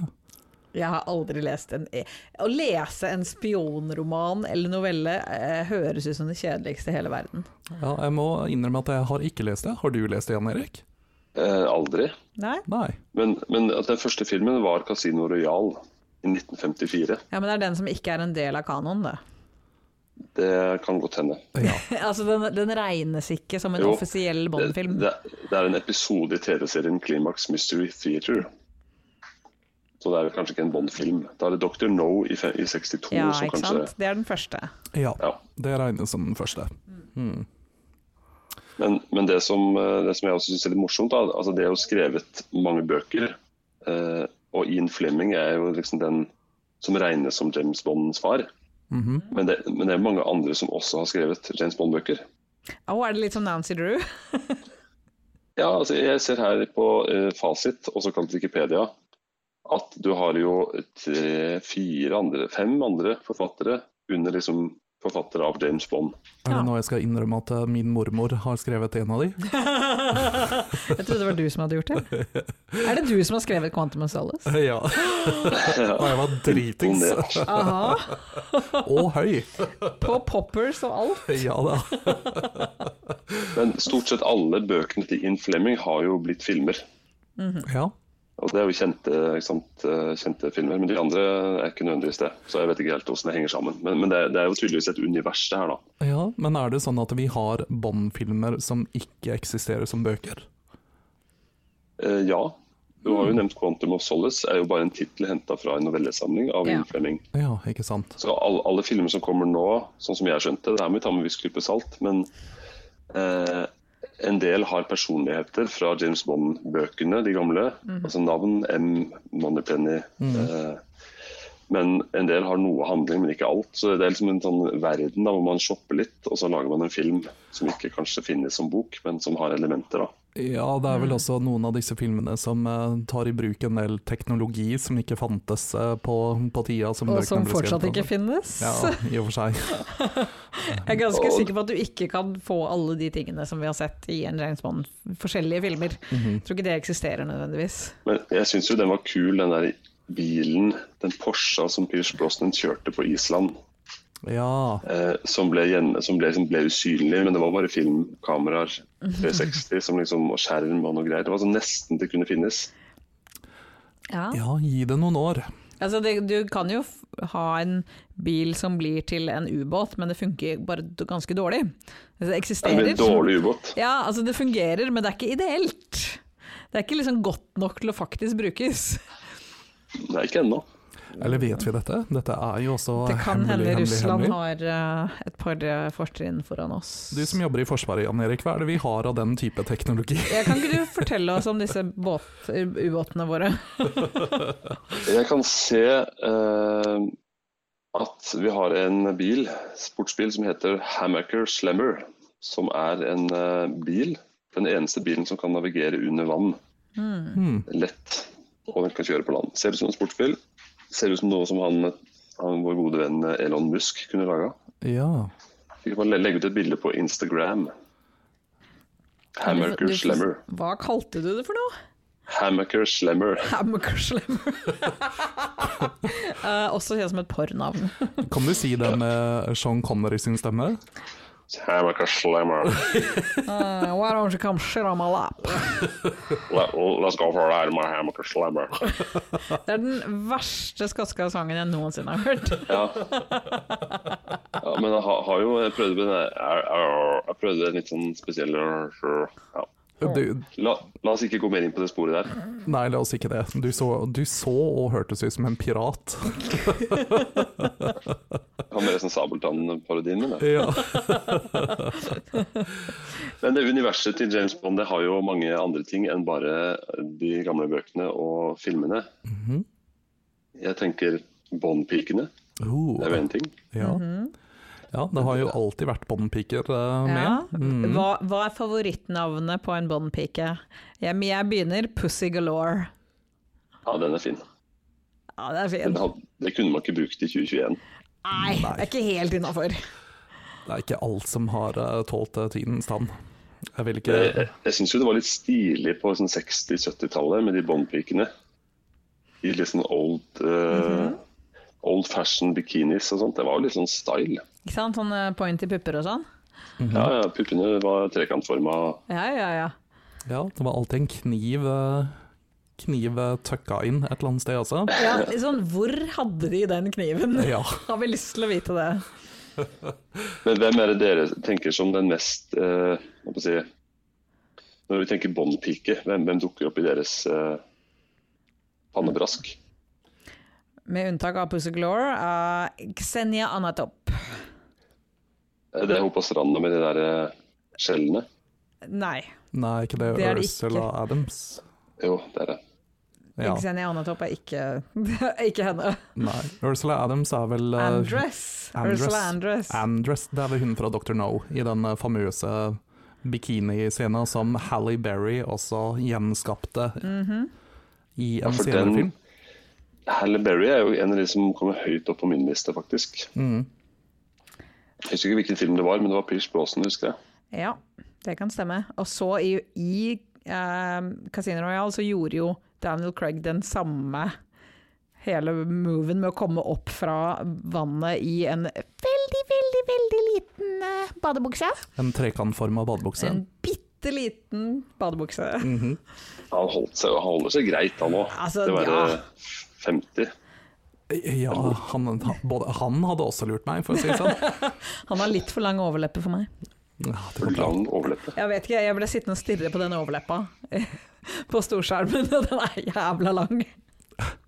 Speaker 3: Jeg har aldri lest en e Å lese en spionroman eller novelle eh, høres ut som det kjedeligste i hele verden.
Speaker 4: Ja, jeg må innrømme at jeg har ikke lest det. Har du lest det igjen, Erik?
Speaker 2: Eh, aldri.
Speaker 3: Nei?
Speaker 4: Nei.
Speaker 2: Men, men at den første filmen var 'Casino Royal' i 1954.
Speaker 3: Ja, men det er den som ikke er en del av kanoen, det.
Speaker 2: Det kan godt hende.
Speaker 4: Ja.
Speaker 3: altså, den, den regnes ikke som en
Speaker 2: Jo,
Speaker 3: offisiell
Speaker 2: Det,
Speaker 3: Bond-film.
Speaker 2: det, det er en episode i TV-serien Climax Mystery Theater. Så det er vel kanskje ikke en Bond-film. Da er det Dr. No i, fe- i 62
Speaker 3: Ja,
Speaker 2: som
Speaker 3: ikke
Speaker 2: kanskje
Speaker 3: sant? Det er den første.
Speaker 4: ja,
Speaker 2: Ja.
Speaker 4: det regnes som den første.
Speaker 2: Men, men det, som, eh, det som jeg også syns er litt morsomt, da, altså det er jo skrevet mange bøker. eh, Og Ian Fleming er jo liksom den som regnes som James Bonds far.
Speaker 4: Mhm.
Speaker 2: men, det, men det er mange andre som også har skrevet James Bond-bøker.
Speaker 3: Å, er det litt som Nancy Drew?
Speaker 2: Ja, altså jeg ser her på eh, fasit, også kalt Wikipedia, at du har jo tre, fire andre, fem andre forfattere under liksom forfattere av James Bond.
Speaker 4: Er det
Speaker 3: Ja.
Speaker 4: nå jeg skal innrømme at eh, min mormor har skrevet en av de?
Speaker 3: Jeg trodde det var du som hadde gjort det. Er det du som har skrevet 'Quantum of Solace'?
Speaker 4: Ja. Og jeg var dritings.
Speaker 2: Imponert.
Speaker 3: Aha,
Speaker 4: Og høy!
Speaker 3: på poppers og alt.
Speaker 4: Ja da.
Speaker 2: Men stort sett alle bøkene til Ian Fleming har jo blitt filmer.
Speaker 4: Ja.
Speaker 2: Og det er jo kjente, ikke sant, eh, kjente filmer, men de andre er ikke nødvendigvis det. Så jeg vet ikke helt hvordan det henger sammen. Men, men det, er- det er jo tydeligvis et univers det her, da.
Speaker 4: Ja, men er det sånn at vi har Bond-filmer som ikke eksisterer som bøker?
Speaker 2: Eh, ja, du har jo nevnt 'Quantum of Solace', er jo bare en tittel henta fra en novellesamling av
Speaker 3: Ja.
Speaker 2: Ian Fleming.
Speaker 4: Ja, ikke sant.
Speaker 2: Så alle, alle filmer som kommer nå, sånn som jeg skjønte, det her må vi ta med en viss klype salt, men eh, en del har personligheter fra James Bond-bøkene, de gamle. Altså navn, M, Moneypenny. Eh, men en del har noe handling, men ikke alt. Så det er liksom en sånn verden da, hvor man shopper litt, og så lager man en film som ikke kanskje finnes som bok, men som har elementer. da.
Speaker 4: Ja, det er vel
Speaker 3: Mm.
Speaker 4: også noen av disse filmene som eh, tar i bruk en del teknologi som ikke fantes eh, på, på tida som
Speaker 3: Og
Speaker 4: bøkene
Speaker 3: som
Speaker 4: ble skrevet
Speaker 3: fortsatt
Speaker 4: om.
Speaker 3: ikke finnes.
Speaker 4: Ja, i og for seg.
Speaker 3: Jeg er ganske
Speaker 2: Og-
Speaker 3: sikker på at du ikke kan få alle de tingene som vi har sett i en James Bond, forskjellige filmer.
Speaker 2: Mhm.
Speaker 3: Jeg tror ikke det eksisterer nødvendigvis.
Speaker 2: Men jeg syns jo den var kul, den der bilen, den Porscha som Pierce Brosnan kjørte på Island.
Speaker 4: Ja,
Speaker 2: eh, som, ble, gjen- som, ble, som ble usynlig, men det var bare filmkameraer 360 som liksom, og skjerm og noe greier. Det var sånn nesten det kunne finnes.
Speaker 3: Ja.
Speaker 4: ja, gi det noen år.
Speaker 3: Altså det, du kan jo f- ha en bil som blir til en ubåt, men det funker bare d- ganske dårlig.
Speaker 2: Det
Speaker 3: Altså det
Speaker 2: blir
Speaker 3: eksisterer.
Speaker 2: en dårlig ubåt.
Speaker 3: Ja, altså det fungerer, men det er ikke ideelt. Det er ikke liksom godt nok til å faktisk brukes.
Speaker 2: Det er ikke ennå.
Speaker 4: Eller vet vi dette? Dette er jo også
Speaker 3: Det kan
Speaker 4: hemmelig,
Speaker 3: hende
Speaker 4: hemmelig,
Speaker 3: Russland
Speaker 4: hemmelig.
Speaker 3: har eh, et par eh, fortrinn foran oss.
Speaker 4: Du som jobber i Forsvaret, Jan Erik, hva er det vi har av den type teknologi?
Speaker 3: Jeg kan ikke du fortelle oss om disse båt, ubåtene våre?
Speaker 2: Jeg kan se eh, at vi har en bil, sportsbil som heter Hamaker Slammer. Som er en eh, bil, den eneste bilen som kan navigere under vann Mhm.
Speaker 4: Hmm.
Speaker 2: lett. Og den kan kjøre på land. Ser ut som en sportsbil. Ser ut som noe som han, han vår gode venn Elon Musk kunne laga.
Speaker 4: Ja.
Speaker 2: Vi kan bare legge ut et bilde på Instagram. Hamaker Slammer.
Speaker 3: Hva kalte du det for noe?
Speaker 2: Hamaker Slammer.
Speaker 3: Hammaker Slammer. Eh, også kjent som et pornavn.
Speaker 4: Kan du si det med Sean Connery sin stemme?
Speaker 2: Hamaker Slammer.
Speaker 3: Eh, why don't you come shit on my lap?
Speaker 2: Let, let's go for a ride in my Hamaker Slammer.
Speaker 3: Det er den verste skotska-sangen jeg noensinne har hørt.
Speaker 2: Ja. ja men jeg har, har jo jeg prøvde med den der- er- er- Jeg prøvde en litt sånn spesiell ja.
Speaker 4: Du,
Speaker 2: la, la oss ikke gå mer inn på det sporet der.
Speaker 4: nei, la oss ikke det. Du så, du så og hørtes ut som en pirat.
Speaker 2: Jeg har mer sånn Sabeltann-parodien min. jeg.
Speaker 4: Ja.
Speaker 2: Men det universet til James Bond det har jo mange andre ting enn bare de gamle bøkene og filmene. Jeg tenker Bond-pikene.
Speaker 4: Oh,
Speaker 2: Det er jo én ting.
Speaker 4: ja. ja, det har jo alltid vært båndpiker
Speaker 3: Mhm.
Speaker 4: eh,
Speaker 3: Ja.
Speaker 4: med.
Speaker 3: Hva, hva er favorittnavnet på en Bond-pike? Jeg, jeg begynner Pussy Galore.
Speaker 2: Ja, den er fin.
Speaker 3: Ja, det er
Speaker 2: Den
Speaker 3: fint.
Speaker 2: had, det kunne man ikke brukt i 2021.
Speaker 3: Nei, det er ikke helt innafor.
Speaker 4: Det er ikke alt som har eh, tålt eh, tidens tann. Jeg vil
Speaker 2: Jeg, jeg,
Speaker 4: ikke
Speaker 2: jeg syns jo det var litt stilig på sånn 60-70-tallet med de båndpikene. I litt sånn old, eh, old fashion bikinis og sånt. Det var jo litt sånn style.
Speaker 3: Ikke sant? Sånne pointy pupper og sånn?
Speaker 2: Ja, ja, Puppene var trekantforma.
Speaker 3: Ja, ja, ja.
Speaker 4: Ja, det var alltid en kniv eh, Kniv eh, tøkka inn et eller annet sted også.
Speaker 3: ja sånn, hvor hadde de den kniven?
Speaker 4: Ja.
Speaker 3: Har vi lyst til å vite det?
Speaker 2: Men hvem er det dere tenker som den mest eh, hva skal jeg si, Når vi tenker båndpike, hvem, hvem dukker opp i deres eh, pannebrask?
Speaker 3: Med unntak av Pussy Glore, uh, Xenia Anatop.
Speaker 2: Eh, Det er hun på stranda med de der eh, skjellene.
Speaker 3: Nei,
Speaker 4: Nei, ikke det.
Speaker 3: Det er det ikke.
Speaker 4: Ursula Adams.
Speaker 2: Jo, det er det.
Speaker 4: Ja.
Speaker 3: Xenia Anatop er ikke, det er ikke henne.
Speaker 4: Nei. Ursula Adams er vel eh,
Speaker 3: Andress.
Speaker 4: Andress.
Speaker 3: Ursula Andress.
Speaker 4: Andress, det er vel hun fra Dr. No, i den eh, famøse bikiniscena som Halle Berry også gjenskapte
Speaker 3: Mhm.
Speaker 4: i en
Speaker 2: for
Speaker 4: senere
Speaker 2: den-
Speaker 4: film.
Speaker 2: Halle Berry er jo en av de som kommer høyt opp på min liste, faktisk. Jeg husker ikke hvilken film det var, men det var Pierce Brosnan, husker jeg.
Speaker 3: Ja, det kan stemme. Og så i, i eh, Casino Royale så gjorde jo Daniel Craig den samme hele moven med å komme opp fra vannet i en veldig, veldig, veldig liten eh, badebukse.
Speaker 4: En trekantforma badebukse.
Speaker 3: En bitte liten badebukse.
Speaker 2: Han holdt seg, han holder seg greit, han òg.
Speaker 3: Altså,
Speaker 2: det var
Speaker 3: ja.
Speaker 2: eh, 50.
Speaker 4: Eh, Ja, han, han- både, han hadde også lurt meg, for å si det sånn.
Speaker 3: Han har litt for lang overleppe for meg.
Speaker 4: Ja, det går
Speaker 2: For
Speaker 4: bra.
Speaker 2: lang overleppe.
Speaker 3: Jeg vet ikke, jeg ble sittende og stirre på den overleppa på storskjermen, og den er jævla lang.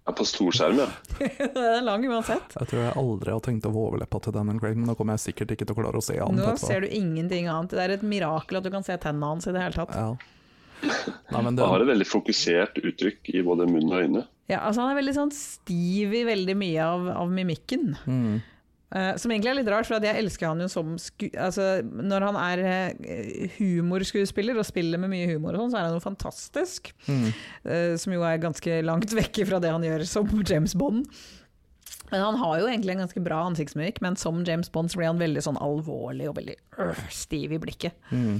Speaker 2: Ja, på storskjerm, ja.
Speaker 3: Den er lang uansett.
Speaker 4: Jeg tror jeg aldri har tenkt over overleppa til Daniel Craig, men nå kommer jeg sikkert ikke til å klare å se han
Speaker 3: Nå
Speaker 4: etterpå.
Speaker 3: ser du ingenting annet. Det er et mirakel at du kan se tennene hans i det hele tatt.
Speaker 4: Ja. Nei, men det,
Speaker 2: Han har et veldig fokusert uttrykk i både munn og øyne.
Speaker 3: Ja, altså han er veldig sånn stiv i veldig mye av, av mimikken. Eh, som egentlig er litt rart, for at jeg elsker han jo som sku... Altså, når han er eh, humorskuespiller og spiller med mye humor og sånn, så er han jo fantastisk. Eh, som jo er ganske langt vekk fra det han gjør som James Bond. Men han har jo egentlig en ganske bra ansiktsmimikk, men som James Bond så blir han veldig sånn alvorlig og veldig øh, stiv i blikket.
Speaker 2: Men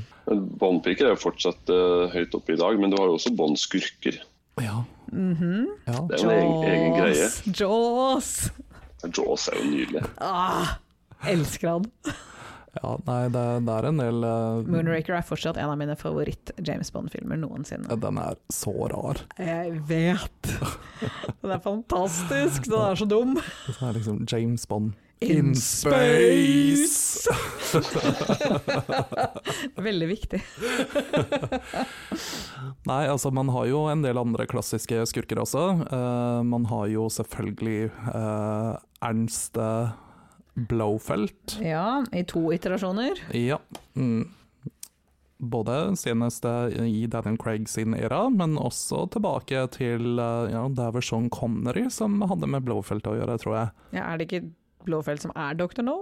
Speaker 2: Båndpiker er jo fortsatt eh, høyt oppe i dag, men du har jo også båndskurker.
Speaker 4: ja.
Speaker 3: Mhm.
Speaker 4: ja.
Speaker 2: Det er jo en egen, egen greie.
Speaker 3: Jaws! Jaws!
Speaker 2: Jaws er jo nydelig.
Speaker 3: Ah, elsker han.
Speaker 4: Ja, nei, det, det er en del eh,
Speaker 3: Moonraker er fortsatt en av mine favoritt-James Bond-filmer noensinne.
Speaker 4: Den er så rar.
Speaker 3: Jeg vet! Den er fantastisk! Den er så dum!
Speaker 4: Det er liksom James Bond
Speaker 3: In space! Veldig viktig.
Speaker 4: Nei, altså man har jo en del andre klassiske skurker også. Eh, man har jo selvfølgelig eh, Ernst eh, Blofeld.
Speaker 3: Ja, i to iterasjoner.
Speaker 4: Ja. Mm. Både senest i Daniel Craig sin era, men også tilbake til eh, ja, det er vel Sean Connery som hadde med Blofeld å gjøre, tror jeg.
Speaker 3: Ja, er det ikke Blåfeld som er Dr. No?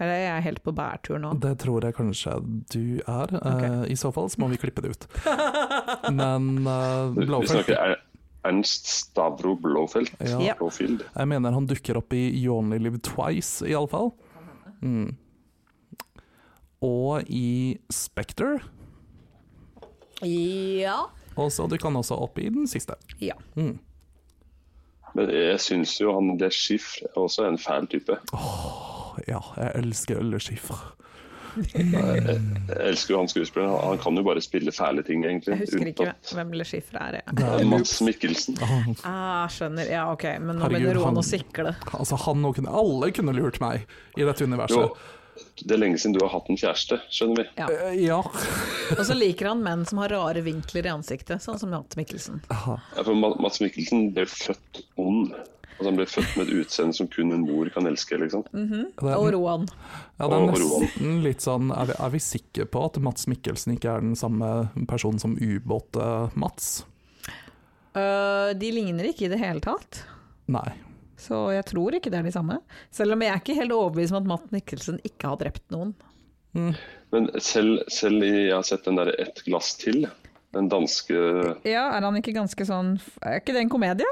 Speaker 3: Eller er jeg helt på bærtur nå?
Speaker 4: Det tror jeg kanskje du er. Eh, I så fall så må vi klippe det ut. Men eh,
Speaker 2: Vi vi
Speaker 4: Blofeld
Speaker 2: snakker Er- Ernst Stavro Blåfeld.
Speaker 4: Ja.
Speaker 3: Ja.
Speaker 2: Blåfield.
Speaker 4: Jeg mener han dukker opp i You Only Live Twice, iallfall. Mm. Og i Spectre.
Speaker 3: Ja.
Speaker 4: Og så dukker han også opp i den siste.
Speaker 3: ja.
Speaker 2: Men jeg syns jo han det Schiff er også en fæl type.
Speaker 4: Ja, jeg elsker Ølleskifer.
Speaker 2: Jeg elsker jo han skuespilleren. Han- Han kan jo bare spille fæle ting, egentlig.
Speaker 3: Jeg husker ikke
Speaker 2: unntatt
Speaker 3: hvem Le Chiffre er. Jeg.
Speaker 4: Det er
Speaker 2: Mads Mikkelsen.
Speaker 3: Ah, skjønner. Ja, ok. Men nå ble
Speaker 4: Herregud,
Speaker 3: det
Speaker 4: han-
Speaker 3: Roan og Sikle.
Speaker 4: Altså, han og kunne, alle kunne lurt meg i
Speaker 2: Jo,
Speaker 4: dette universet.
Speaker 2: det er lenge siden du har hatt en kjæreste, skjønner vi.
Speaker 3: Ja.
Speaker 4: Eh, Ja.
Speaker 3: Og så liker han menn som har rare vinkler i ansiktet, sånn som Jant Mikkelsen.
Speaker 2: Ja, for Ma- Mads Mikkelsen ble født ond. Altså, han ble født med et utseende som kun en mor kan elske. liksom.
Speaker 3: Mm.
Speaker 4: Det
Speaker 3: Og
Speaker 4: er,
Speaker 3: Roan.
Speaker 4: ja, det er
Speaker 2: og Roald.
Speaker 4: nesten litt sånn Er vi, er vi sikre på at Mats Mikkelsen ikke er den samme personen som eh, ubåt-Mats?
Speaker 3: Øh, de ligner ikke i det hele tatt,
Speaker 4: Nei.
Speaker 3: så jeg tror ikke det er de samme. Selv om jeg er ikke helt overbevist om at Matt Mikkelsen ikke har drept noen.
Speaker 2: Men selv, selv i, jeg har sett den derre 'Ett glass til', den danske
Speaker 3: Ja, er han ikke ganske sånn Er ikke det en komedie?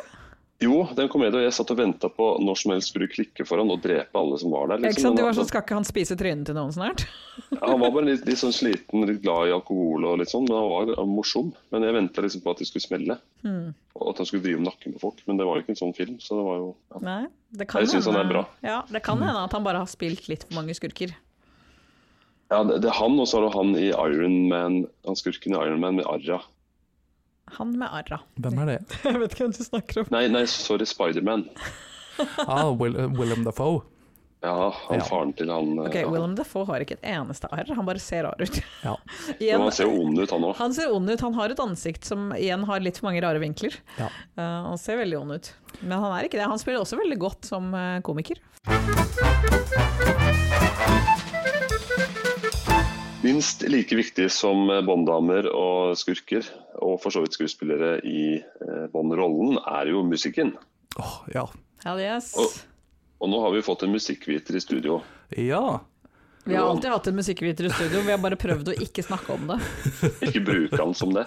Speaker 2: Jo, det er en komedie, og jeg satt og venta på når som helst skulle klikke for han og drepe alle som var der.
Speaker 3: Ikke
Speaker 2: Men
Speaker 3: sant, det var
Speaker 2: han-
Speaker 3: sånn, Skal ikke han spise trynet til noen snart?
Speaker 2: Ja, Han var bare litt, litt sånn sliten, litt glad i alkohol og litt sånn, men han var han var morsom. Men jeg venta liksom på at det skulle smelle,
Speaker 3: Hmm.
Speaker 2: og at han skulle drive om nakken på folk. Men det var jo ikke en sånn film, så det var jo ja.
Speaker 3: Nei, det kan
Speaker 2: Jeg synes han er
Speaker 3: hende-
Speaker 2: bra. Mm.
Speaker 3: Ja, det kan hende at han bare har spilt litt for mange skurker.
Speaker 2: ja det, det er han, og så er det han i Iron Man, han skurken i Iron Man med Arra.
Speaker 3: Han med arra.
Speaker 4: Hvem er det?
Speaker 3: Jeg vet ikke hvem du snakker om.
Speaker 2: Nei, nei, sorry, Spiderman.
Speaker 4: Ah, Will, Willem Dafoe.
Speaker 2: Ja, han
Speaker 4: Ja.
Speaker 2: faren til han eh,
Speaker 3: Ok,
Speaker 2: ja.
Speaker 3: Willem Dafoe har ikke et eneste arr, han bare ser rar ut.
Speaker 4: Ja.
Speaker 2: Men
Speaker 3: Igjen,
Speaker 2: han ser jo ond ut, han òg.
Speaker 3: han ser ond ut, han har et ansikt som igjen har litt for mange rare vinkler.
Speaker 4: ja.
Speaker 3: Eh, han ser veldig ond ut, men han er ikke det. Han spiller også veldig godt som eh, komiker.
Speaker 2: Minst like viktig som eh, Bond-damer og skurker, og for så vidt skuespillere i eh, Bond-rollen, er jo musikken.
Speaker 4: Åh, ja.
Speaker 3: Hell yes.
Speaker 2: Og- Og nå har vi fått en musikkviter i studio.
Speaker 4: Ja.
Speaker 3: Vi har alltid hatt en musikkviter i studio, vi har bare prøvd å ikke snakke om det.
Speaker 2: Ikke bruke han som det.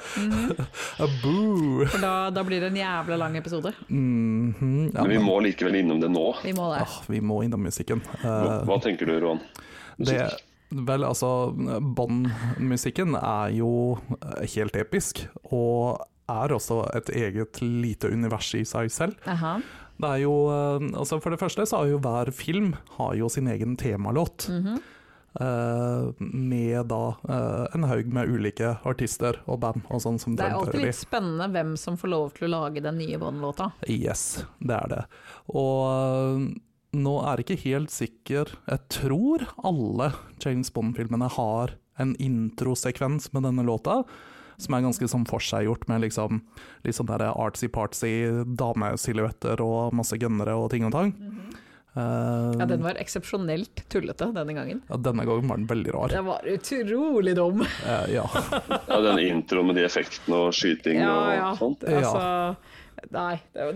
Speaker 4: A boo.
Speaker 3: For da, da blir det en jævla lang episode.
Speaker 4: Mhm, ja,
Speaker 2: Men vi må likevel innom det nå.
Speaker 3: Vi må det.
Speaker 4: Ah, vi må innom musikken.
Speaker 2: Hva
Speaker 4: Eh,
Speaker 2: hva tenker du, Roan?
Speaker 4: det, vel, altså, Bond-musikken er jo eh, helt episk, og er også et eget lite univers i seg selv.
Speaker 3: Aha.
Speaker 4: Det er jo, eh, altså For det første så har jo hver film har jo sin egen temalåt.
Speaker 3: Mhm.
Speaker 4: Eh, med da eh, en haug med ulike artister og band og sånn som
Speaker 3: Det er
Speaker 4: fremfører
Speaker 3: alltid
Speaker 4: de.
Speaker 3: litt spennende hvem som får lov til å lage den nye Bond-låta.
Speaker 4: Yes, det er det. Og øh, nå er jeg ikke helt sikker Jeg tror alle James Bond-filmene har en introsekvens med denne låta. Som er ganske sånn forseggjort, med liksom, litt sånn der artsy-partsy damesilhuetter og masse gønnere og ting og tang. Eh,
Speaker 3: Mhm. Ja, den var eksepsjonelt tullete denne gangen.
Speaker 4: ja, denne gangen var den veldig rar.
Speaker 3: Den var utrolig dum.
Speaker 4: Eh, ja.
Speaker 2: Ja, Den introen med de effektene og skyting og sånn.
Speaker 3: Altså, nei, det, det,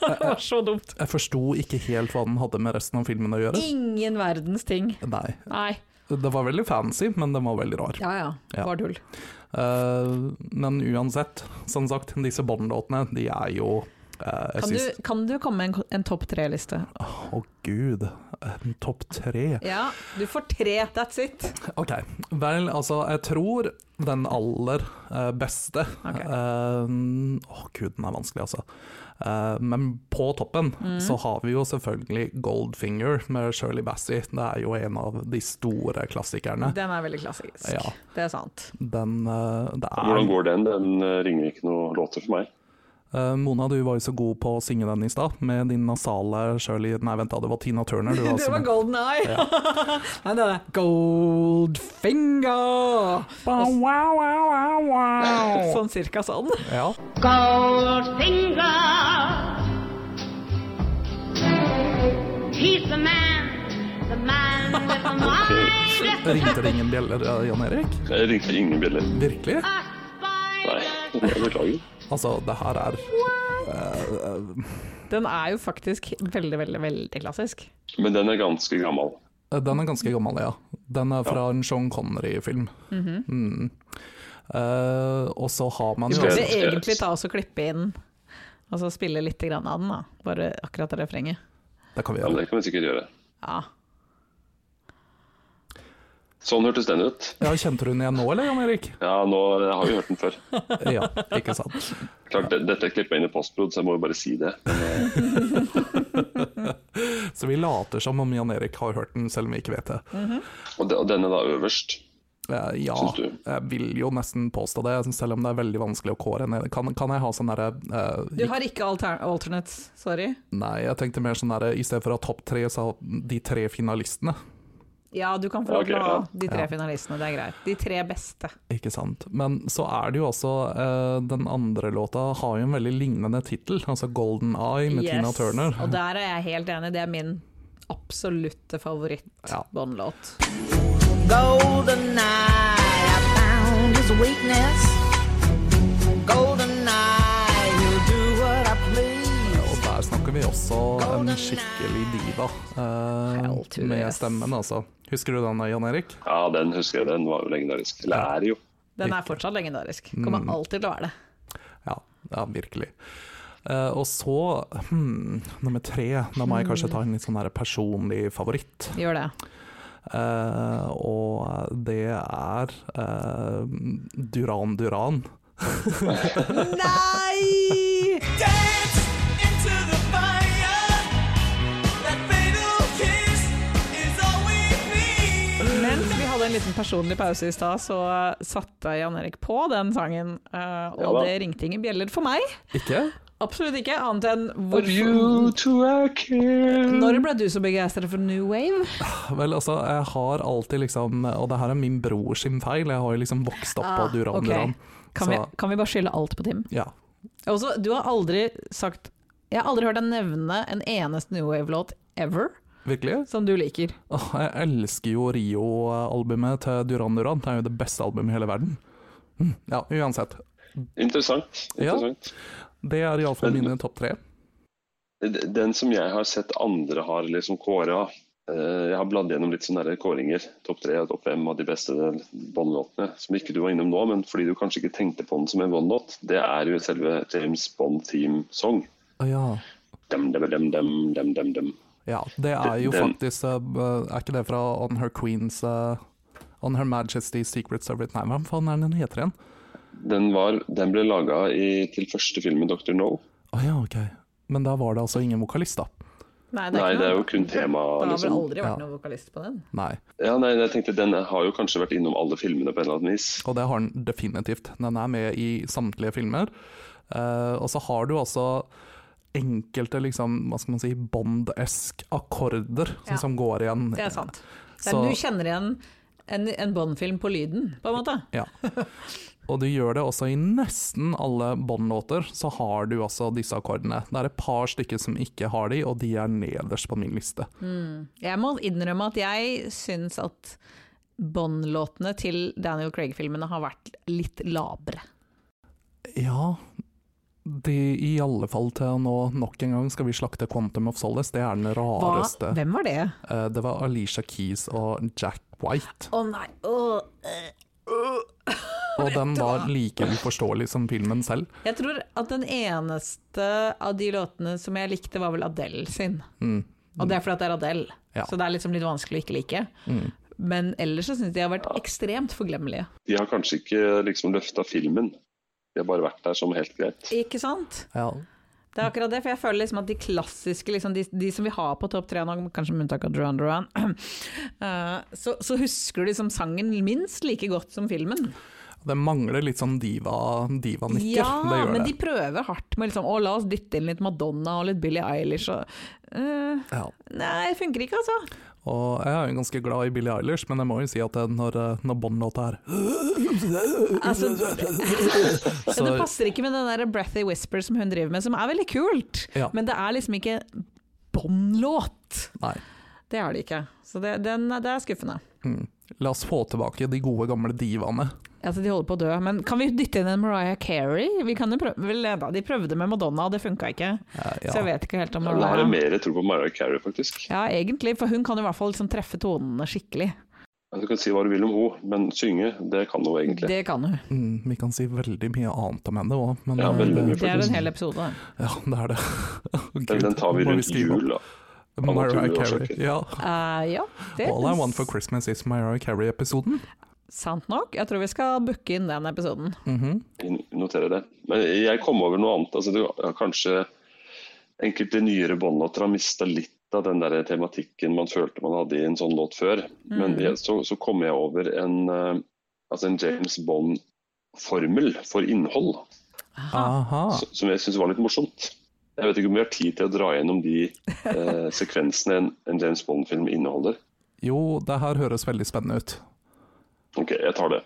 Speaker 3: det var så dumt.
Speaker 4: Jeg forsto ikke helt hva den hadde med resten av filmen å gjøre.
Speaker 3: Ingen verdens ting.
Speaker 4: Nei.
Speaker 3: Nei.
Speaker 4: Det var veldig fancy, men den var veldig rar.
Speaker 3: Ja ja,
Speaker 4: Ja.
Speaker 3: var tull.
Speaker 4: Eh, men uansett, som sagt, disse Bond-låtene de er jo Eh, jeg
Speaker 3: Kan
Speaker 4: syns-
Speaker 3: du, kan du komme med en, en topp tre-liste?
Speaker 4: Å gud, en topp tre.
Speaker 3: Ja, du får tre, that's it.
Speaker 4: Ok, vel, altså, jeg tror den aller eh, beste
Speaker 3: Ok.
Speaker 4: eh, Å gud, den er vanskelig, altså. Eh, men på toppen
Speaker 3: Mm.
Speaker 4: så har vi jo selvfølgelig Goldfinger med Shirley Bassey. Det er jo en av de store klassikerne.
Speaker 3: Den er veldig klassisk.
Speaker 4: Ja.
Speaker 3: Det er sant.
Speaker 4: Den, eh, det er
Speaker 2: Hvordan går den? Den eh, ringer ikke noen låter for meg.
Speaker 4: Eh, Mona, du var jo så god på å synge den i stad, med din nasale Shirley Nei, vent da, det var Tina Turner. Du
Speaker 3: Det
Speaker 4: som-
Speaker 3: var golden eye! Nei, det er Goldfinger!
Speaker 4: Wow, wow, wow, wow, wow.
Speaker 3: Sånn cirka sånn.
Speaker 4: Ja.
Speaker 5: Goldfinger. He's the man, the man with the mind.
Speaker 4: Ringte det ingen bjeller, eh, Jan Erik?
Speaker 2: Jeg ringte ingen bjeller.
Speaker 4: Virkelig?
Speaker 5: A
Speaker 2: Nei,
Speaker 5: spider.
Speaker 2: jeg beklager.
Speaker 4: Altså, det her er
Speaker 3: Den er jo faktisk veldig, veldig, veldig klassisk.
Speaker 2: Men den er ganske gammel.
Speaker 4: eh, Den er ganske gammel, ja. Den er fra en Sean Connery-film. Mm. Eh, og så har man
Speaker 3: Vi
Speaker 4: jo
Speaker 2: Skal
Speaker 3: burde
Speaker 2: jeg-
Speaker 3: egentlig ta oss og klippe inn, og så spille litt grann av den, da. Bare akkurat det refrenget.
Speaker 4: Det kan vi
Speaker 2: Ja, men
Speaker 4: gjøre.
Speaker 2: det kan vi sikkert gjøre.
Speaker 3: Ja.
Speaker 2: Sånn hørtes den ut.
Speaker 4: Ja, Kjente du den igjen nå, eller, Jan Erik?
Speaker 2: Ja, nå jeg har vi hørt den før.
Speaker 4: Ja, ikke sant.
Speaker 2: Klart, det- Dette klipper jeg inn i postprod, så jeg må jo bare si det.
Speaker 4: Så vi later som om Jan Erik har hørt den, selv om vi ikke vet det.
Speaker 2: Og, de, og denne da øverst.
Speaker 4: Eh, ja,
Speaker 2: Syns du?
Speaker 4: jeg vil jo nesten påstå det, selv om det er veldig vanskelig å kåre en kan, kan jeg ha sånn derre eh,
Speaker 3: Du har ikke alter alternates, sorry.
Speaker 4: Nei, jeg tenkte mer sånn derre I stedet for å ha topp tre, så ha de tre finalistene.
Speaker 3: Ja, du kan få lov
Speaker 2: Ok,
Speaker 3: til å ha
Speaker 2: ja.
Speaker 3: de tre finalistene, det er greit. De tre beste.
Speaker 4: Ikke sant. Men så er det jo også eh, Den andre låta har jo en veldig lignende tittel, altså 'Golden Eye' med Tina Turner.
Speaker 3: Og der er jeg helt enig, det er min absolutte
Speaker 4: Ja.
Speaker 3: favoritt-båndlåt.
Speaker 6: Golden eye, I found his weakness. Golden eye, he'll do what I please.
Speaker 4: Og der snakker vi også en skikkelig diva eh,
Speaker 3: Helt yes.
Speaker 4: med stemmen, altså. Husker du den, Jan Erik?
Speaker 2: Ja, den husker jeg. Den var jo legendarisk. Eller er jo.
Speaker 3: Den er fortsatt legendarisk.
Speaker 4: Mm.
Speaker 3: Kommer alltid til å være det.
Speaker 4: Ja, ja virkelig. Eh, og så, hmm, nummer tre, da må jeg kanskje ta en litt sånn her personlig favoritt.
Speaker 3: Gjør det.
Speaker 4: Eh, og det er eh, Duran Duran.
Speaker 3: Nei!
Speaker 6: Dance into the fire. That fatal kiss is all we need.
Speaker 3: Mens vi hadde en liten personlig pause i stad, så satte Jan Erik på den sangen. eh,
Speaker 2: Ja
Speaker 3: Og
Speaker 2: da.
Speaker 3: det ringte ingen bjeller for meg.
Speaker 4: Ikke?
Speaker 3: Absolutt ikke, annet enn
Speaker 2: Of
Speaker 3: hvorfor
Speaker 2: you to I care.
Speaker 3: Når ble du så begeistra for New Wave?
Speaker 4: Vel, altså, jeg har alltid liksom Og det her er min bror sin feil, jeg har jo liksom vokst opp på
Speaker 3: Ah,
Speaker 4: Duran
Speaker 3: ok.
Speaker 4: Duran.
Speaker 3: Kan,
Speaker 4: Så-
Speaker 3: vi, kan vi bare skylde alt på Tim?
Speaker 4: Ja.
Speaker 3: Også, du har aldri sagt Jeg har aldri hørt deg nevne en eneste New Wave-låt ever
Speaker 4: Virkelig?
Speaker 3: som du liker.
Speaker 4: Åh, jeg elsker jo Rio-albumet til Duran Duran. Det er jo det beste albumet i hele verden. Hm, Ja, uansett.
Speaker 2: Interessant.
Speaker 4: Ja.
Speaker 2: interessant.
Speaker 4: Det er iallfall mine topp tre.
Speaker 2: D- Den som jeg har sett andre har liksom kåra Eh, Jeg har bladd gjennom litt sånne der kåringer. Topp tre og topp fem av de beste Bond-låtene. Som ikke du var innom nå, men fordi du kanskje ikke tenkte på den som en Bond-låt. Det er jo selve James Bond Team Song.
Speaker 4: Å ja.
Speaker 2: Dem, dem, dem, dem, dem, dem, dem.
Speaker 4: ja. Det er jo
Speaker 2: Den-
Speaker 4: faktisk eh, Er ikke det fra On Her Queens eh, On Her Majesty's Secret Service Nei, hva faen er den den heter igjen?
Speaker 2: Den, var, den ble laga til første filmen Dr. No.
Speaker 4: Å ja, ok. Men da var det altså ingen vokalist, da.
Speaker 2: Nei, det er jo
Speaker 3: noe-
Speaker 2: kun tema,
Speaker 3: Det har vel
Speaker 2: liksom.
Speaker 3: aldri
Speaker 4: Ja.
Speaker 3: vært noen vokalist på den.
Speaker 4: Nei.
Speaker 2: Ja, nei, jeg tenkte Den har jo kanskje vært innom alle filmene på en eller annen vis.
Speaker 4: Og det har den definitivt. Den er med i samtlige filmer. Eh, og så har du også enkelte liksom, hva skal man si, Bond-esk akkorder
Speaker 3: Ja.
Speaker 4: som, som går igjen.
Speaker 3: Det er sant. Det er,
Speaker 4: Så-
Speaker 3: du kjenner igjen en, en Bond-film på lyden, på en måte.
Speaker 4: Ja. Og du gjør det også i nesten alle Bond-låter, så har du også disse akkordene. Det er et par stykker som ikke har de, og de er nederst på min liste.
Speaker 3: Jeg må innrømme at jeg syns at Bond-låtene til Daniel Craig-filmene har vært litt labre.
Speaker 4: Ja, de i alle fall til nå nok en gang skal vi slakte Quantum of Solace. Det er den
Speaker 3: Hva?
Speaker 4: rareste.
Speaker 3: Hvem var det?
Speaker 4: Eh, Det var Alicia Keys og Jack White.
Speaker 3: Å nei, åh, øh, øh.
Speaker 4: Og den var like uforståelig som filmen selv.
Speaker 3: Jeg tror at den eneste av de låtene som jeg likte, var vel Adele sin. Og det er fordi at det er Adele,
Speaker 4: Mm. Ja. Mm.
Speaker 3: så det er liksom litt vanskelig å ikke like. Men ellers så syns jeg de har vært ekstremt forglemmelige.
Speaker 2: De har kanskje ikke liksom løfta filmen. De har bare vært der som helt greit.
Speaker 3: Ikke sant?
Speaker 4: Ja.
Speaker 3: Det er akkurat det, for jeg føler liksom at de klassiske, liksom de, de som vi har på topp tre nå, kanskje med unntak av Duran Duran, eh, så, så husker du liksom sangen minst like godt som filmen.
Speaker 4: Det mangler litt sånn diva, divanikker.
Speaker 3: Ja,
Speaker 4: det gjør
Speaker 3: men de
Speaker 4: det.
Speaker 3: prøver hardt med liksom, å la oss dytte inn litt Madonna og litt Billie Eilish og eh,
Speaker 4: Ja.
Speaker 3: Nei, funker ikke altså.
Speaker 4: Og jeg er jo ganske glad i Billie Eilish, men jeg må jo si at det- når, eh, når Bond-låta er
Speaker 3: altså
Speaker 4: så,
Speaker 3: det passer ikke med den der breathy whisper som hun driver med, som er veldig kult,
Speaker 4: Ja.
Speaker 3: men det er liksom ikke Bond-låt.
Speaker 4: Nei.
Speaker 3: Det er det ikke. Så det, den, det er skuffende.
Speaker 4: Mm. La oss få tilbake de gode, gamle divaene.
Speaker 3: Altså, de holder på å dø, men kan vi dytte inn en Mariah Carey? Vi kan jo prøve, vel, da, de prøvde med Madonna, og det funka ikke.
Speaker 4: Eh,
Speaker 3: Så jeg
Speaker 4: ja.
Speaker 3: vet ikke helt om
Speaker 2: Jeg har
Speaker 3: Mariah
Speaker 2: mer tro på Mariah Carey, faktisk.
Speaker 3: Ja, egentlig, for hun kan i hvert fall liksom treffe tonene skikkelig.
Speaker 2: Altså, Du kan si hva du vil om henne, men synge, det kan hun egentlig.
Speaker 3: Det kan hun.
Speaker 4: Mm, vi kan si veldig mye annet om henne òg, men
Speaker 2: Ja,
Speaker 4: eh,
Speaker 2: veldig mye.
Speaker 3: Det er en hel episode.
Speaker 4: ja, det er det. Gud,
Speaker 2: Den, den tar vi
Speaker 4: nå må
Speaker 2: rundt
Speaker 4: skrive opp.
Speaker 2: jul, altså. da. av
Speaker 4: Mariah
Speaker 2: naturlige
Speaker 4: Carey.
Speaker 2: årsaker.
Speaker 4: Ja.
Speaker 3: Eh, ja, det
Speaker 4: All I Want for Christmas is Mariah Carey-episoden.
Speaker 3: sant nok. Jeg tror vi skal booke inn den episoden.
Speaker 4: Mhm.
Speaker 2: Jeg noterer det. Men jeg kom over noe annet. Altså, du, ja, kanskje enkelte nyere båndlåter har mista litt av den der tematikken man følte man hadde i en sånn låt før.
Speaker 4: Mm.
Speaker 2: Men jeg, så, så kom jeg over en, eh, altså en James Bond-formel for innhold,
Speaker 4: Aha.
Speaker 2: s- som jeg syns var litt morsomt. Jeg vet ikke om vi har tid til å dra gjennom de eh, sekvensene en, en James Bond-film inneholder.
Speaker 4: Jo, det her høres veldig spennende ut.
Speaker 2: Ok, jeg tar det.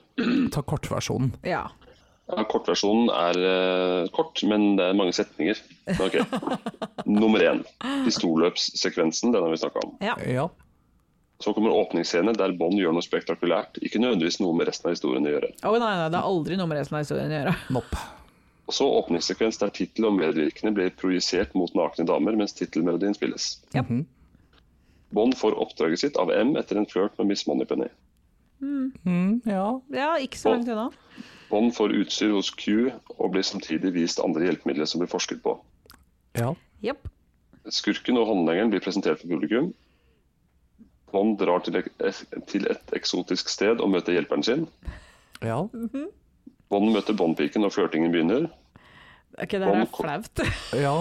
Speaker 4: Ta kortversjonen.
Speaker 3: Ja.
Speaker 2: Ja, kortversjonen er eh, kort, men det er mange setninger. Ok. Nummer én, pistolløpssekvensen. Den har vi snakka om.
Speaker 3: ja.
Speaker 4: Ja.
Speaker 2: Så kommer åpningsscene der Bond gjør noe spektakulært. Ikke nødvendigvis noe med resten av historien å gjøre.
Speaker 3: Å nei, nei, det har aldri noe med resten av historien å gjøre.
Speaker 4: Nopp.
Speaker 2: Og så åpningssekvens der tittel og medvirkende blir projisert mot nakne damer mens tittelmelodien spilles.
Speaker 3: Ja.
Speaker 2: Bond får oppdraget sitt av M etter en flørt med Miss Moneypenny.
Speaker 4: Mm, ja.
Speaker 3: Ja, ikke så langt unna.
Speaker 2: Bond får utstyr hos Q og blir samtidig vist andre hjelpemidler som blir forsket på.
Speaker 4: Ja.
Speaker 3: Jepp.
Speaker 2: Skurken og håndlengeren blir presentert for publikum. Bond drar til et, til et eksotisk sted og møter hjelperen sin.
Speaker 4: Ja.
Speaker 2: Bond møter Bond-piken når flørtingen begynner.
Speaker 3: Ok, det her er flaut.
Speaker 4: ja.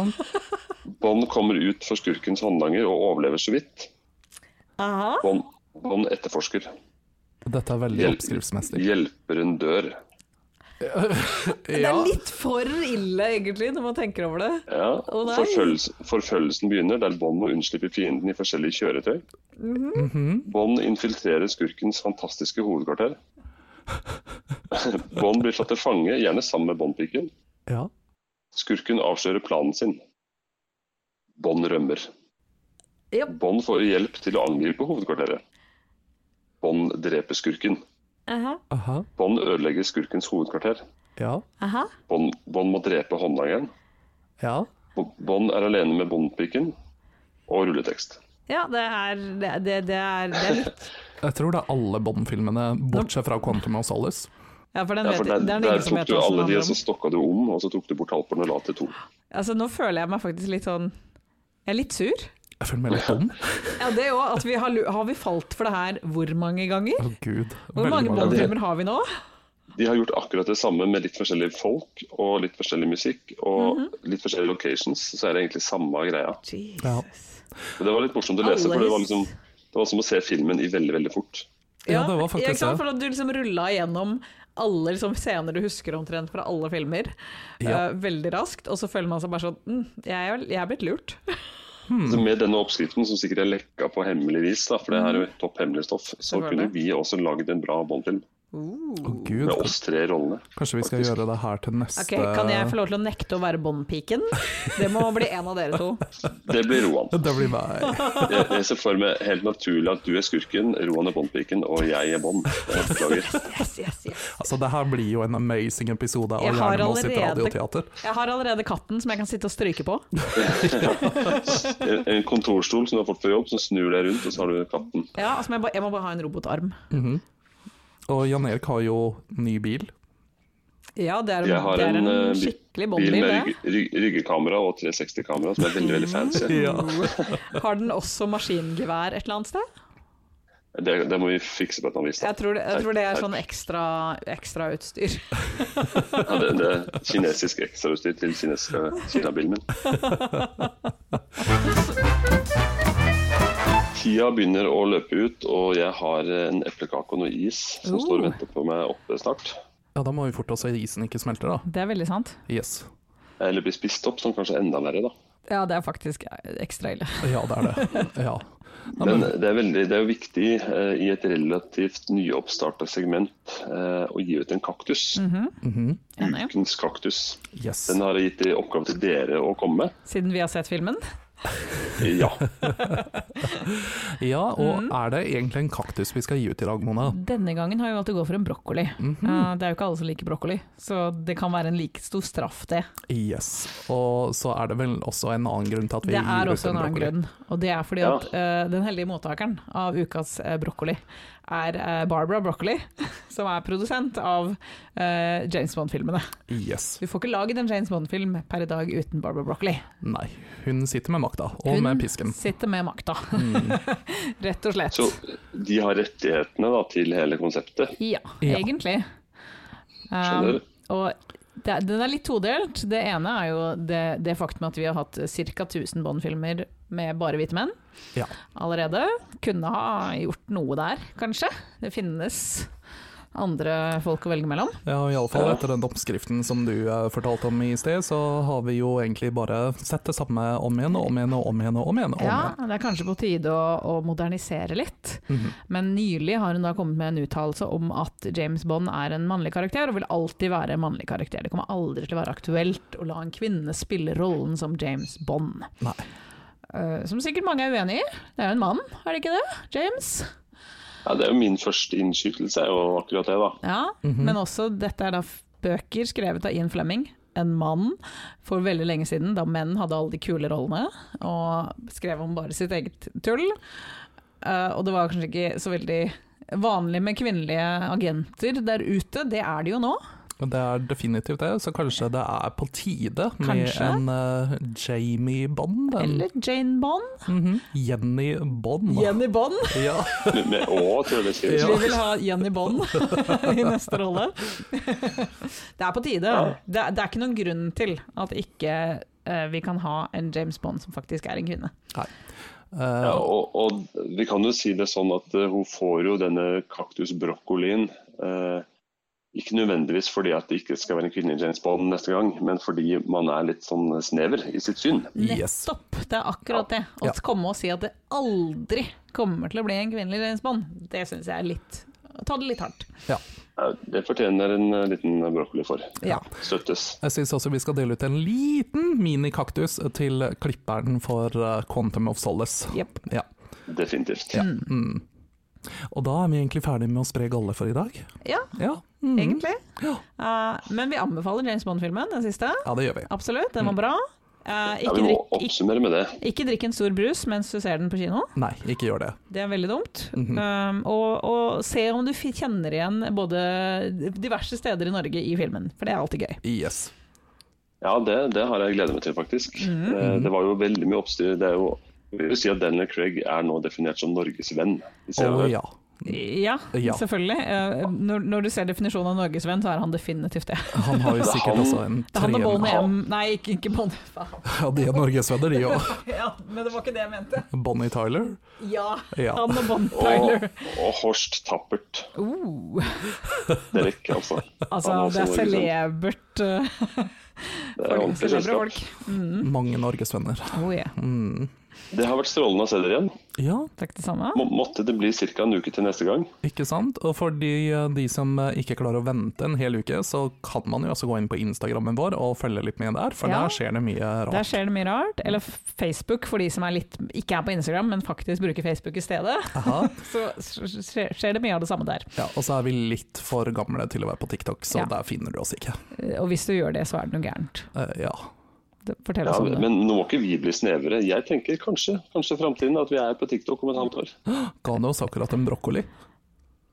Speaker 2: Bond kommer ut for skurkens håndlanger og overlever så vidt.
Speaker 3: Aha.
Speaker 2: Bond, Bond etterforsker.
Speaker 4: Dette er veldig
Speaker 2: Hjel-
Speaker 4: oppskriftsmessig.
Speaker 2: Hjelperen dør.
Speaker 3: Det er
Speaker 4: Ja.
Speaker 3: litt for ille, egentlig, når man tenker over det.
Speaker 2: Ja.
Speaker 3: Å nei.
Speaker 2: Forfølgels- forfølgelsen begynner der Bond må unnslippe fienden i forskjellige kjøretøy. Bond infiltrerer skurkens fantastiske hovedkvarter. Bond blir tatt til fange, gjerne sammen med Bond-piken.
Speaker 4: ja.
Speaker 2: Skurken avslører planen sin. Bond rømmer.
Speaker 3: Japp.
Speaker 2: Bond får hjelp til å angripe hovedkvarteret. Bond dreper skurken.
Speaker 3: Aha.
Speaker 4: Aha.
Speaker 2: Bond ødelegger skurkens hovedkvarter.
Speaker 4: Ja.
Speaker 3: Aha.
Speaker 2: Bond, Bond må drepe håndlangeren.
Speaker 4: Ja.
Speaker 2: Bo- Bond er alene med Bond-piken og rulletekst.
Speaker 3: Ja, det er, det, det, det er, det er litt
Speaker 4: Jeg tror det er alle Bond-filmene, bortsett fra Quantum of Solace.
Speaker 3: Ja, for den
Speaker 2: Ja,
Speaker 3: vet
Speaker 2: for der,
Speaker 3: det er det
Speaker 2: der
Speaker 3: ingen som
Speaker 2: tok
Speaker 3: vet
Speaker 2: du
Speaker 3: hva som
Speaker 2: alle de,
Speaker 3: handler
Speaker 2: og så
Speaker 3: om.
Speaker 2: stokka du om, og så tok du bort halvparten og la til to.
Speaker 3: Altså, nå føler jeg meg faktisk litt sånn Jeg er litt sur.
Speaker 4: Jeg føler meg litt dum.
Speaker 3: Ja, det òg. At vi har, lu- har vi falt for det her hvor mange ganger?
Speaker 4: Å gud.
Speaker 3: Hvor mange
Speaker 4: Veldig
Speaker 2: ganger.
Speaker 3: Bond-filmer har vi nå?
Speaker 2: De har gjort akkurat det samme med litt forskjellige folk og litt forskjellig musikk og
Speaker 3: Mhm.
Speaker 2: litt forskjellige locations, så er det egentlig samme greia.
Speaker 4: Ja.
Speaker 2: Men det var litt morsomt å lese, for det var, liksom, det var som å se filmen i veldig, veldig fort.
Speaker 4: Ja, det var
Speaker 3: ikke sant?
Speaker 4: faktisk det.
Speaker 3: For at du liksom rulla igjennom alle liksom scener du husker omtrent fra alle filmer,
Speaker 4: Ja.
Speaker 3: eh, veldig raskt, og så føler man seg bare sånn mm, jeg, er, jeg er blitt lurt.
Speaker 2: Så med denne oppskriften, som sikkert er lekka på hemmelig vis, da, for det her er jo topp hemmelig stoff, så kunne
Speaker 3: Selvfølgelig.
Speaker 2: vi også lagd en bra Bond-film
Speaker 4: Å gud.
Speaker 2: med oss tre i rollene.
Speaker 4: Kanskje vi skal
Speaker 2: faktisk.
Speaker 4: gjøre det her til neste
Speaker 3: Ok, Kan jeg få lov til å nekte å være Bond-piken? Det må bli en av dere to.
Speaker 2: Det blir Roan.
Speaker 4: Det blir meg.
Speaker 2: Jeg, jeg ser for meg helt naturlig at du er skurken, Roan er Bond-piken, og jeg er Bond. Jeg Beklager.
Speaker 3: Yes, yes, yes.
Speaker 4: Altså, det her blir jo en amazing episode av
Speaker 3: Jeg har
Speaker 4: Hjernen sitt
Speaker 3: allerede-
Speaker 4: radioteater.
Speaker 3: Jeg har allerede katten som jeg kan sitte og stryke på.
Speaker 2: En, en kontorstol som du har fått på jobb, som snur deg rundt, og så har du katten.
Speaker 3: Ja, altså, jeg, må bare, jeg må bare ha en robotarm.
Speaker 4: Og Jan Erik har jo ny bil.
Speaker 3: Ja, det er,
Speaker 2: Jeg har
Speaker 3: det er
Speaker 2: en, eh,
Speaker 3: en, skikkelig
Speaker 2: Bil
Speaker 3: Bondbil,
Speaker 2: med
Speaker 3: det.
Speaker 2: rygg, rygg, ryggekamera og 360-kamera, som er veldig veldig fancy.
Speaker 4: Ja.
Speaker 3: Har den også maskingevær et eller annet sted?
Speaker 2: Det, det må vi fikse på et eller annet vis. da.
Speaker 3: Jeg tror det, jeg tror det er sånn ekstra ekstrautstyr.
Speaker 2: Ja, det, det er kinesisk ekstrautstyr til kinesiske Kina-bilen min. Tida begynner å løpe ut, og jeg har en eplekake og noe is som
Speaker 3: Oh.
Speaker 2: står og venter på meg oppe snart.
Speaker 4: ja, da må vi forte oss så isen ikke smelter, da.
Speaker 3: Det er veldig sant.
Speaker 4: Yes.
Speaker 2: Eller blir spist opp, som kanskje er enda verre, da.
Speaker 3: Ja, det er faktisk ekstra ille.
Speaker 4: Ja, det er det. Ja. Nei,
Speaker 2: Men
Speaker 4: men,
Speaker 2: det er, veldig, det er jo viktig eh, i et relativt nyoppstarta segment eh, å gi ut en kaktus.
Speaker 3: Enig.
Speaker 2: Ukens kaktus.
Speaker 4: yes.
Speaker 2: Den har jeg gitt i oppgave til dere å komme med.
Speaker 3: Siden vi har sett filmen.
Speaker 2: Ja.
Speaker 4: Ja,
Speaker 3: Mm.
Speaker 4: og er det egentlig en kaktus vi skal gi ut i dag, Mona?
Speaker 3: Denne gangen har jeg valgt å gå for en brokkoli.
Speaker 4: Mhm.
Speaker 3: Eh, Det er jo ikke alle som liker brokkoli, så det kan være en like stor straff, det.
Speaker 4: Yes. Og så er det vel også en annen grunn til at vi
Speaker 3: Det er
Speaker 4: gir ut
Speaker 3: også en annen
Speaker 4: brokkoli.
Speaker 3: grunn, og det er fordi
Speaker 2: Ja.
Speaker 3: at eh, den heldige mottakeren av ukas eh, brokkoli er eh, Barbara Broccoli, som er produsent av eh, James Bond-filmene.
Speaker 4: Yes.
Speaker 3: Du får ikke laget en James Bond-film per i dag uten Barbara Broccoli.
Speaker 4: Nei. Hun sitter med makta, og med pisken. Mm.
Speaker 3: sitter med makta, rett og slett.
Speaker 2: Så de har rettighetene da, til hele konseptet.
Speaker 3: Ja,
Speaker 4: Ja.
Speaker 3: egentlig. Um,
Speaker 2: Skjønner.
Speaker 3: og det, den er litt todelt. Det ene er jo det, det faktum at vi har hatt ca. 1000 Bond-filmer med bare hvite menn
Speaker 4: Ja.
Speaker 3: allerede. Kunne ha gjort noe der, kanskje. Det finnes andre folk å velge mellom.
Speaker 4: ja, iallfall etter den oppskriften som du eh, fortalte om i sted, så har vi jo egentlig bare sett det samme om igjen og om igjen og om igjen. og om igjen. og Om
Speaker 3: Ja,
Speaker 4: igjen.
Speaker 3: det er kanskje på tide å, å modernisere litt. Men nylig har hun da kommet med en uttalelse om at James Bond er en mannlig karakter, og vil alltid være en mannlig karakter. Det kommer aldri til å være aktuelt å la en kvinne spille rollen som James Bond.
Speaker 4: Nei.
Speaker 3: Eh, som sikkert mange er uenig i. Det er jo en mann, er det ikke det? James?
Speaker 2: Ja, det er jo min første innskytelse, er jo akkurat det, da.
Speaker 3: Ja, men også dette er da f- bøker skrevet av Ian Fleming. En mann for veldig lenge siden, da menn hadde alle de kule rollene og skrev om bare sitt eget tull. Eh, og det var kanskje ikke så veldig vanlig med kvinnelige agenter der ute, det er det jo nå.
Speaker 4: Det er definitivt det, så kanskje det er på tide
Speaker 3: Kanskje.
Speaker 4: med en eh, Jamie Bond? En
Speaker 3: Eller Jane Bond.
Speaker 4: mhm, Jenny Bond?
Speaker 3: Jenny Bond.
Speaker 4: Ja.
Speaker 2: Med, med å, tror jeg det skrives.
Speaker 3: Vi vil ha Jenny Bond i neste rolle. Det er på tide. Det, er- det er ikke noen grunn til at ikke eh, vi kan ha en James Bond som faktisk er en kvinne.
Speaker 4: Nei. Eh,
Speaker 2: Ja, og, og vi kan jo si det sånn at eh, hun får jo denne kaktusbrokkolien eh, ikke nødvendigvis fordi at det ikke skal være en kvinne i James Bond neste gang, men fordi man er litt sånn snever i sitt syn.
Speaker 4: Yes.
Speaker 3: Nettopp, det er akkurat det. Å
Speaker 4: Ja.
Speaker 3: komme og si at det aldri kommer til å bli en kvinnelig James Bond, det syns jeg er litt Ta det litt hardt.
Speaker 4: ja.
Speaker 2: Eh, Det fortjener en eh, liten brokkoli for.
Speaker 3: Ja.
Speaker 2: Støttes.
Speaker 4: Jeg syns også vi skal dele ut en liten minikaktus til klipperen for eh, Quantum of Solace.
Speaker 3: Jepp.
Speaker 4: Ja.
Speaker 2: Definitivt.
Speaker 4: Og da er vi egentlig ferdig med å spre galle for i dag.
Speaker 3: Ja,
Speaker 4: Ja, mm.
Speaker 3: egentlig.
Speaker 4: Ja.
Speaker 3: Eh, men vi anbefaler James Bond-filmen, den siste.
Speaker 4: ja det gjør vi.
Speaker 3: Absolutt, den var bra. Eh,
Speaker 2: Ja,
Speaker 3: ikke,
Speaker 2: vi må
Speaker 3: drikk, ikke,
Speaker 2: oppsummere med det.
Speaker 3: ikke drikk en stor brus mens du ser den på kino.
Speaker 4: Nei, ikke gjør det.
Speaker 3: Det er veldig dumt. um, og, og se om du fi- kjenner igjen både diverse steder i Norge i filmen, for det er alltid gøy.
Speaker 4: Yes.
Speaker 2: Ja, det, det har jeg gledet meg til, faktisk.
Speaker 3: Mm.
Speaker 2: Eh, Det var jo veldig mye oppstyr. Det er jo jeg vil si at Daniel Craig er nå definert som Norges venn. Hvis
Speaker 4: Å
Speaker 2: jeg har hørt.
Speaker 4: ja.
Speaker 3: Ja,
Speaker 4: Ja.
Speaker 3: selvfølgelig. Eh, Når, når du ser definisjonen av norgesvenn, så er han definitivt det.
Speaker 4: Han har jo
Speaker 2: Det er
Speaker 4: sikkert
Speaker 2: han-
Speaker 4: også en
Speaker 3: Det er han og Bonnie
Speaker 4: trener.
Speaker 3: M. Nei, ikke, ikke Bonnie. Faen.
Speaker 4: Ja, de er norgesvenner, de òg.
Speaker 3: Ja, men det var ikke det jeg mente.
Speaker 4: Bonnie Tyler.
Speaker 3: Ja,
Speaker 4: Ja.
Speaker 3: han og Bonnie
Speaker 2: Og,
Speaker 3: Tyler.
Speaker 2: og Horst Tappert.
Speaker 3: Oh,
Speaker 2: Derek, altså.
Speaker 3: altså,
Speaker 2: Han er også
Speaker 3: det er
Speaker 2: Norges venn.
Speaker 3: celebert. eh,
Speaker 2: Det er
Speaker 3: folk-
Speaker 2: ordentlig
Speaker 3: Celebre
Speaker 2: selskap.
Speaker 3: folk.
Speaker 4: Mange norgesvenner.
Speaker 3: Oh, yeah.
Speaker 2: Det har vært strålende å se dere igjen.
Speaker 4: Ja,
Speaker 3: Takk det samme.
Speaker 2: Må, måtte det bli ca. en uke til neste gang.
Speaker 4: ikke sant? Og for de, de som ikke klarer å vente en hel uke, så kan man jo også gå inn på Instagrammen vår og følge litt med der, for
Speaker 3: Ja.
Speaker 4: der skjer det mye
Speaker 3: Der
Speaker 4: rart.
Speaker 3: skjer det mye rart. Eller f- Facebook, for de som er litt, ikke er på Instagram, men faktisk bruker Facebook i stedet.
Speaker 4: Aha.
Speaker 3: Så s- skjer skjer det mye av det samme der.
Speaker 4: Ja, og så er vi litt for gamle til å være på TikTok, så
Speaker 3: Ja.
Speaker 4: der finner du oss ikke.
Speaker 3: Eh, Og hvis du gjør det, så er det noe gærent.
Speaker 4: Eh, ja.
Speaker 3: Det- Fortell
Speaker 2: Ja,
Speaker 3: oss om det.
Speaker 2: men nå må ikke vi bli snevere. Jeg tenker kanskje kanskje i framtiden at vi er på TikTok om et halvt år.
Speaker 4: Ga han oss akkurat en brokkoli?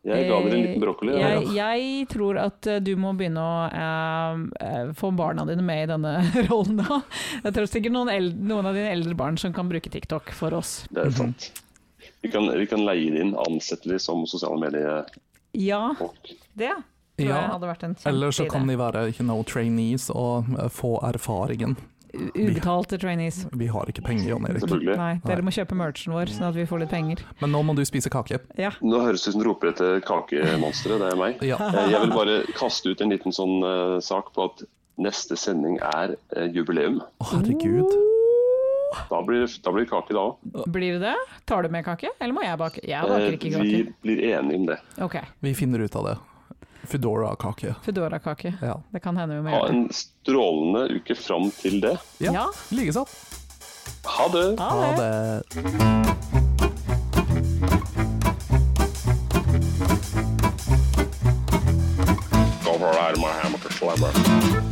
Speaker 2: Jeg ga dere en liten brokkoli.
Speaker 4: ja.
Speaker 3: Eh, Jeg, jeg tror at eh, du må begynne å eh, eh, få barna dine med i denne rollen da. Jeg tror sikkert noen, eld- noen av dine eldre barn som kan bruke TikTok for oss.
Speaker 2: Det er sant. Vi kan, vi kan leie det inn, ansette de som sosiale mediefolk.
Speaker 3: Ja, det tror
Speaker 4: Ja.
Speaker 3: jeg hadde vært en
Speaker 4: Eller så kan
Speaker 3: kjempeidé.
Speaker 4: de være ikke no trainees og eh, få erfaringen.
Speaker 3: Ubetalte trainees.
Speaker 4: Vi har ikke penger, Jan Erik.
Speaker 2: Selvfølgelig.
Speaker 3: Nei, dere må kjøpe merchen vår, sånn at vi får litt penger.
Speaker 4: Men nå må du spise kake.
Speaker 3: Ja.
Speaker 2: Nå høres det ut som du roper etter kakemonsteret, det er meg.
Speaker 4: Ja.
Speaker 2: Eh, Jeg vil bare kaste ut en liten sånn eh, sak på at neste sending er eh, jubileum.
Speaker 4: Å, herregud.
Speaker 2: Da blir, da blir det kake da òg.
Speaker 3: Blir det det? Tar du med kake, eller må jeg bake? Jeg baker ikke
Speaker 2: Eh, Vi
Speaker 3: kake.
Speaker 2: blir enige om det.
Speaker 3: Ok,
Speaker 4: Vi finner ut av det. Foodora-kake.
Speaker 3: Foodora-kake.
Speaker 4: Ja.
Speaker 3: Det kan hende vi må
Speaker 2: Ha
Speaker 3: gjøre det.
Speaker 2: en strålende uke fram til det.
Speaker 4: ja.
Speaker 3: Ja.
Speaker 4: Likeså.
Speaker 2: Ha det!
Speaker 4: Ha det.
Speaker 2: Go for it, my hammer, slammer.